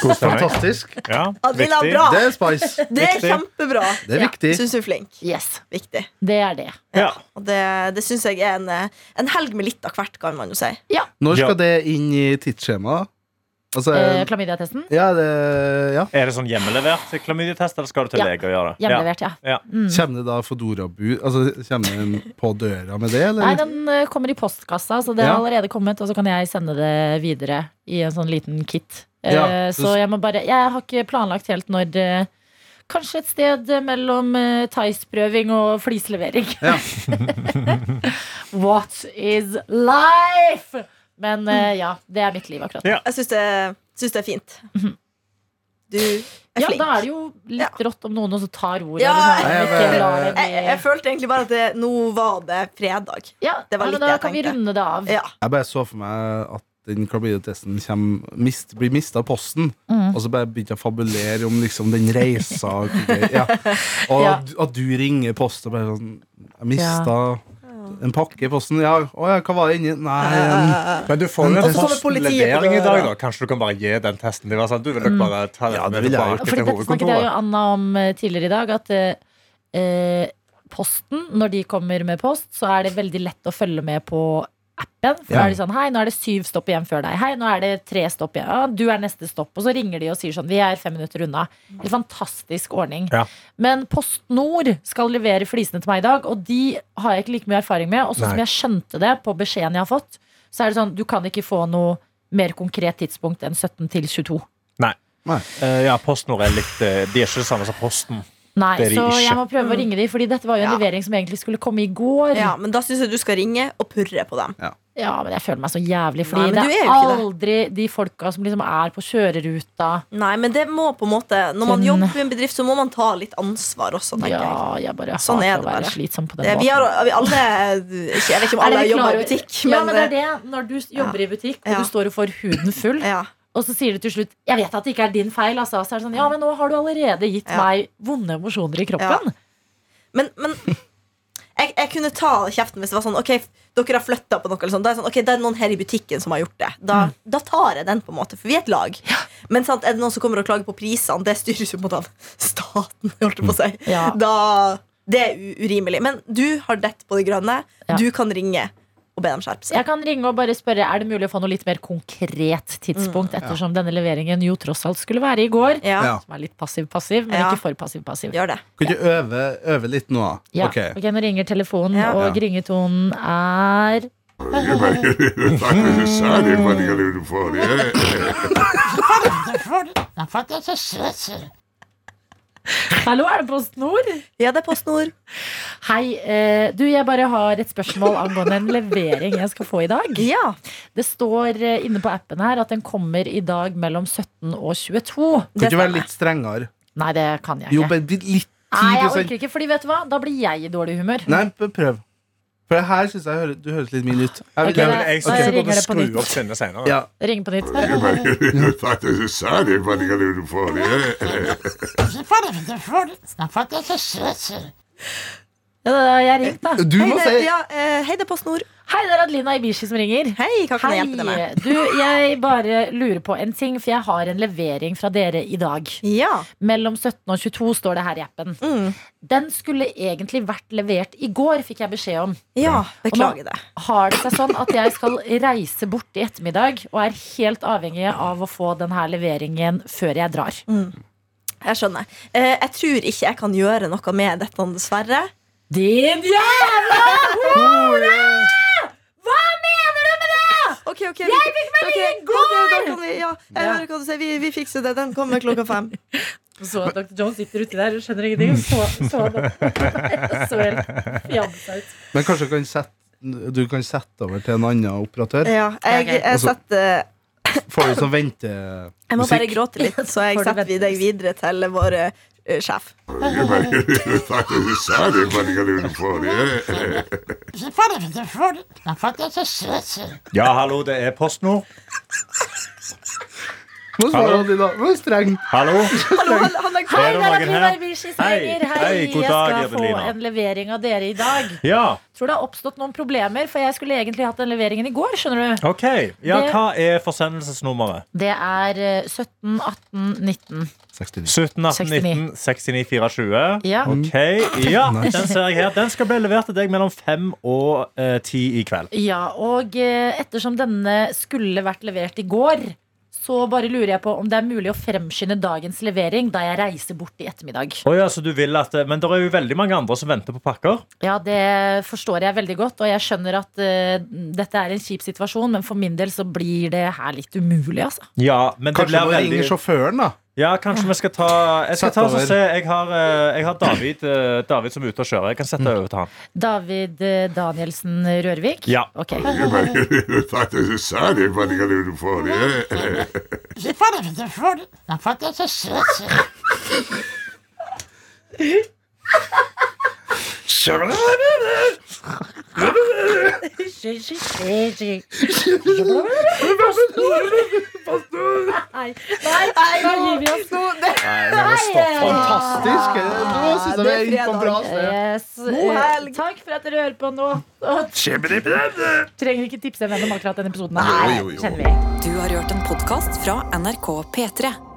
Speaker 4: God stemning.
Speaker 5: Fantastisk.
Speaker 4: Ja,
Speaker 3: Adelina,
Speaker 4: viktig.
Speaker 3: bra.
Speaker 5: Det er
Speaker 2: (laughs)
Speaker 5: spice.
Speaker 3: Det er
Speaker 4: Viktig.
Speaker 3: kjempebra.
Speaker 5: Det er
Speaker 2: Ja.
Speaker 5: viktig.
Speaker 3: Syns du er flink.
Speaker 2: Yes,
Speaker 3: Viktig.
Speaker 2: det er det.
Speaker 4: Ja.
Speaker 3: Og det, det syns jeg er en, eh, en helg med litt av hvert, kan man jo si.
Speaker 5: Når
Speaker 4: Ja.
Speaker 5: skal det inn i tidsskjemaet? Altså,
Speaker 2: Eh, Klamydiatesten?
Speaker 5: ja, det, ja.
Speaker 4: Er det sånn hjemmelevert klamydiatest, eller skal du til
Speaker 2: Ja.
Speaker 4: lege og gjøre det? Ja.
Speaker 2: Hjemlevert, ja.
Speaker 4: Ja.
Speaker 5: Kommer det da Fodora-bud? Altså, kommer den på døra med det,
Speaker 2: Nei,
Speaker 5: eller?
Speaker 2: den eh, kommer i postkassa, så det
Speaker 5: Ja.
Speaker 2: har allerede kommet. Og så kan jeg sende det videre i en sånn liten kit. Eh,
Speaker 5: Ja, så-
Speaker 2: Så jeg må bare Jeg har ikke planlagt helt når eh, Kanskje et sted mellom eh, Theis-prøving og flislevering.
Speaker 5: Ja.
Speaker 2: (laughs) What is life? Men eh, ja, det er mitt liv akkurat.
Speaker 4: Ja.
Speaker 3: Jeg syns det, syns det er fint. Du er
Speaker 2: Mhm. Ja,
Speaker 3: flink.
Speaker 2: da er det jo litt rått om noen også tar ordet.
Speaker 3: Ja.
Speaker 2: liksom,
Speaker 5: Nei, jeg
Speaker 2: ikke
Speaker 5: bare-
Speaker 2: lar det bli-
Speaker 3: Jeg, jeg følte egentlig bare at det, nå var det fredag.
Speaker 2: Ja,
Speaker 3: det var
Speaker 2: ja, men da
Speaker 3: litt det jeg
Speaker 2: kan vi
Speaker 3: tenkte.
Speaker 2: runde det av.
Speaker 3: Ja.
Speaker 5: Jeg bare så for meg at den klamydia-testen kommer- mist, blir mista av posten,
Speaker 2: Mm.
Speaker 5: og så bare begynte jeg å fabulere om liksom den reisa. og
Speaker 2: (laughs)
Speaker 5: greier. Ja. Og
Speaker 2: Ja.
Speaker 5: at- at du ringer post og bare sånn Jeg mista en pakke i posten. Ja, å ja, hva var det inni? Nei, en
Speaker 4: Men du får jo
Speaker 3: Og
Speaker 4: en
Speaker 3: så kommer politiet på
Speaker 4: postlevering i dag,
Speaker 3: døra.
Speaker 4: da. Kanskje du kan bare gi den testen? Det var sånn, du vil nok bare ta den
Speaker 5: Ja, det
Speaker 4: med
Speaker 5: vil jeg jo.
Speaker 4: tilbake
Speaker 2: Fordi
Speaker 4: til
Speaker 2: Mm. dette snakket jeg jo
Speaker 4: hovedkontoret.
Speaker 2: Anna om eh, tidligere i dag, at eh, eh, posten, når de kommer med post, så er det veldig lett å følge med på appen. For da
Speaker 5: Ja.
Speaker 2: er de sånn Hei, nå er det syv stopp igjen før deg. Hei, nå er det tre stopp igjen. Ja, du er neste stopp. Og så ringer de og sier sånn Vi er fem minutter unna. En fantastisk ordning.
Speaker 4: Ja.
Speaker 2: Men Post Nord skal levere flisene til meg i dag, og de har jeg ikke like mye erfaring med. Og sånn som
Speaker 4: Nei.
Speaker 2: jeg skjønte det på beskjeden jeg har fått, så er det sånn Du kan ikke få noe mer konkret tidspunkt enn 17 til 22.
Speaker 4: Nei.
Speaker 5: Nei.
Speaker 4: Eh, ja, PostNord er litt eh, De er ikke det samme som Posten.
Speaker 2: Nei,
Speaker 4: Det er de
Speaker 2: så
Speaker 4: ikke.
Speaker 2: jeg må prøve å ringe dem, Fordi dette var jo en
Speaker 3: Ja.
Speaker 2: levering som egentlig skulle komme i går.
Speaker 3: ja,
Speaker 2: Ja,
Speaker 3: Men da syns jeg du skal ringe og purre på dem.
Speaker 2: men jeg føler meg så jævlig,
Speaker 3: Nei,
Speaker 2: fordi
Speaker 3: men
Speaker 2: det
Speaker 3: du
Speaker 2: er
Speaker 3: er jo ikke det.
Speaker 2: aldri de folka som liksom er på kjøreruta.
Speaker 3: Nei, men det må på en måte Når man
Speaker 2: Den-
Speaker 3: jobber i en bedrift, så må man ta litt ansvar også, tenker
Speaker 2: Mm. Ja,
Speaker 3: jeg.
Speaker 2: jeg bare
Speaker 3: Sånn er
Speaker 2: hater å
Speaker 3: det
Speaker 2: være
Speaker 3: bare.
Speaker 2: slitsom på den
Speaker 3: Det- Vi har vi alle eh, Jeg vet ikke om
Speaker 2: Er det
Speaker 3: alle
Speaker 2: vi
Speaker 3: jobber
Speaker 2: klarer-
Speaker 3: i butikk,
Speaker 2: ja, men det
Speaker 3: men
Speaker 2: er det. Når du jobber i butikk, og
Speaker 3: Ja.
Speaker 2: du står og får huden full,
Speaker 3: eh, ja.
Speaker 2: og så sier du til slutt 'Jeg vet at det ikke er din feil', altså. Så er det sånn 'Ja, men nå har du allerede gitt
Speaker 3: Ja.
Speaker 2: meg vonde emosjoner i kroppen'.
Speaker 3: Men, men jeg, jeg kunne ta kjeften hvis det var sånn Ok, dere har flytta på noe. Eller sånn. Da er det sånn, ok, det er noen her i butikken som har gjort det. Da,
Speaker 2: Mm.
Speaker 3: da tar jeg den, på en måte, for vi er et lag. Men sant, er det noen som kommer og klager på prisene, det styres jo på en måte av staten. (laughs) Holdt jeg på å si.
Speaker 2: Mm. Ja.
Speaker 3: da, det er u- urimelig. Men du har dett på det grønne.
Speaker 2: Ja.
Speaker 3: Du kan ringe og be dem skjerpe seg.
Speaker 2: Jeg kan ringe og bare spørre Er det mulig å få noe litt mer konkret
Speaker 3: Mm.
Speaker 2: tidspunkt, ettersom denne leveringen jo tross alt skulle være i går.
Speaker 3: Ja,
Speaker 5: Ja.
Speaker 2: Som er litt passiv-passiv, men
Speaker 3: Ja.
Speaker 2: ikke for passiv-passiv.
Speaker 3: Gjør det.
Speaker 5: Kan du øve, øve litt nå, da?
Speaker 2: Ja.
Speaker 5: Ok.
Speaker 2: ok, Nå ringer telefonen,
Speaker 3: Ja.
Speaker 2: og
Speaker 5: Ja.
Speaker 2: gringetonen er
Speaker 6: Takk for at du sa det, for det kan du få det.
Speaker 2: Hallo, er det Post Nord?
Speaker 3: Ja, det er PostNord.
Speaker 2: Hei. Eh, du, jeg bare har et spørsmål angående en levering jeg skal få i dag.
Speaker 3: Ja.
Speaker 2: Det står eh, inne på appen her at den kommer i dag mellom 17 og 22.
Speaker 5: Kan du ikke være
Speaker 3: stemmer.
Speaker 5: litt strengere?
Speaker 2: Nei, det kan jeg
Speaker 5: Jo,
Speaker 2: ikke.
Speaker 5: bare litt 10
Speaker 2: Nei, jeg orker ikke, fordi vet du hva? Da blir jeg i dårlig humør.
Speaker 5: Nei, p- prøv. For det her syns jeg hører, du høres litt min ut. Jeg vil,
Speaker 2: Ok,
Speaker 4: Ja,
Speaker 5: jeg
Speaker 4: men
Speaker 2: da
Speaker 4: jeg
Speaker 5: vil,
Speaker 4: synes jeg
Speaker 2: ringer
Speaker 4: burde
Speaker 2: det på
Speaker 4: skru
Speaker 2: nytt.
Speaker 4: opp sinnet senere.
Speaker 5: ja.
Speaker 2: Ringe på nytt.
Speaker 6: Takk for at du sa det, for det kan du få det.
Speaker 2: Ja, da, jeg ringte, da.
Speaker 5: Du
Speaker 3: Hei,
Speaker 5: må
Speaker 3: det,
Speaker 5: si
Speaker 3: ja, eh, hei, det er PostNord.
Speaker 2: Hei, det er Adelina Ibishi som ringer.
Speaker 3: Hei, hva kan jeg hjelpe deg med?
Speaker 2: Hei, du, jeg bare lurer på en ting, for jeg har en levering fra dere i dag.
Speaker 3: Ja.
Speaker 2: Mellom 17 og 22 står det her i appen.
Speaker 3: Mm.
Speaker 2: Den skulle egentlig vært levert i går, fikk jeg beskjed om.
Speaker 3: ja. Beklager det.
Speaker 2: Har det seg sånn at jeg skal reise bort i ettermiddag og er helt avhengig av å få denne leveringen før jeg drar?
Speaker 3: Jeg skjønner. Eh, jeg tror ikke jeg kan gjøre noe med dette, dessverre.
Speaker 2: Din jævla hore! Hva mener du med det?!
Speaker 3: ok, ok Jeg fikk melding i går! Ja, jeg hører hva du sier. Vi, vi fikser det. Den kommer klokka fem. (laughs)
Speaker 2: Så at Dr. John sitter uti der og skjønner ingenting. Så, så, (laughs) han- så helt fjamsa ut.
Speaker 5: Men kanskje du kan sette, du kan sette over til en annen operatør?
Speaker 3: Ja, jeg,
Speaker 2: Ok.
Speaker 3: jeg setter eh,
Speaker 5: Får du sånn vente...
Speaker 3: Jeg må bare
Speaker 5: musikk?
Speaker 3: gråte (laughs) litt, så jeg
Speaker 2: Får du
Speaker 3: setter vi deg videre til vår eh, sjef.
Speaker 6: Everybody thought it was sad. Everybody got it for you.
Speaker 4: Ja, hallo, det er PostNord.
Speaker 5: Nå svarer de da. Nå er det streng.
Speaker 4: Hallo.
Speaker 2: (laughs)
Speaker 3: Hallo, han, han legger på.
Speaker 4: Er
Speaker 2: Hei, der er
Speaker 4: det noen
Speaker 2: Pivar
Speaker 4: her?
Speaker 2: Bischis
Speaker 4: Hei,
Speaker 2: Henger. Hei,
Speaker 4: hei, god
Speaker 2: jeg
Speaker 4: dag,
Speaker 2: skal få
Speaker 4: Evelina.
Speaker 2: en levering av dere i dag.
Speaker 4: Ja,
Speaker 2: Tror det har oppstått noen problemer, for jeg skulle egentlig hatt den leveringen i går. skjønner du
Speaker 4: ok. Ja,
Speaker 2: Det-
Speaker 4: hva er forsendelsesnummeret?
Speaker 2: Det er eh, 17, 18, 19.
Speaker 5: 69.
Speaker 4: 17, 18, 19, 69, 24.
Speaker 2: Ja.
Speaker 4: Ok,
Speaker 5: Mm.
Speaker 4: ja,
Speaker 5: (laughs)
Speaker 4: den ser jeg her. Den skal bli levert til deg mellom fem og eh, ti i kveld.
Speaker 2: ja, og eh, ettersom denne skulle vært levert i går, så bare lurer jeg på om det er mulig å fremskynde dagens levering da jeg reiser bort i ettermiddag.
Speaker 4: Å ja, så du vil at, eh, men det er jo veldig mange andre som venter på pakker.
Speaker 2: Ja, det forstår jeg veldig godt, og jeg skjønner at eh, dette er en kjip situasjon, men for min del så blir det her litt umulig, altså.
Speaker 4: Ja, men det
Speaker 5: Kanskje
Speaker 4: blir
Speaker 5: du
Speaker 4: veldig
Speaker 5: ringer sjåføren, da?
Speaker 4: Ja, kanskje vi skal ta Jeg skal
Speaker 5: Sett
Speaker 4: ta og
Speaker 5: over.
Speaker 4: se Jeg har, eh, jeg har David, eh, David som er ute og kjører. Jeg kan
Speaker 5: Mm.
Speaker 4: sette over til han.
Speaker 2: David eh, Danielsen Rørvik?
Speaker 4: Ja.
Speaker 2: Ok.
Speaker 6: Everybody thought it was sad. Everybody got it for you.
Speaker 2: Nei, nei, nå gir vi oss.
Speaker 5: Fantastisk! Nå synes jeg vi er inne på en bra sted.
Speaker 2: Yes. Eh,
Speaker 3: God helg.
Speaker 2: Takk for at dere hører på nå. Og trenger ikke tipse hvem om akkurat denne episoden. her.
Speaker 5: Jo, jo, jo.
Speaker 2: Kjenner vi.
Speaker 1: Du har hørt en podkast fra NRK P3.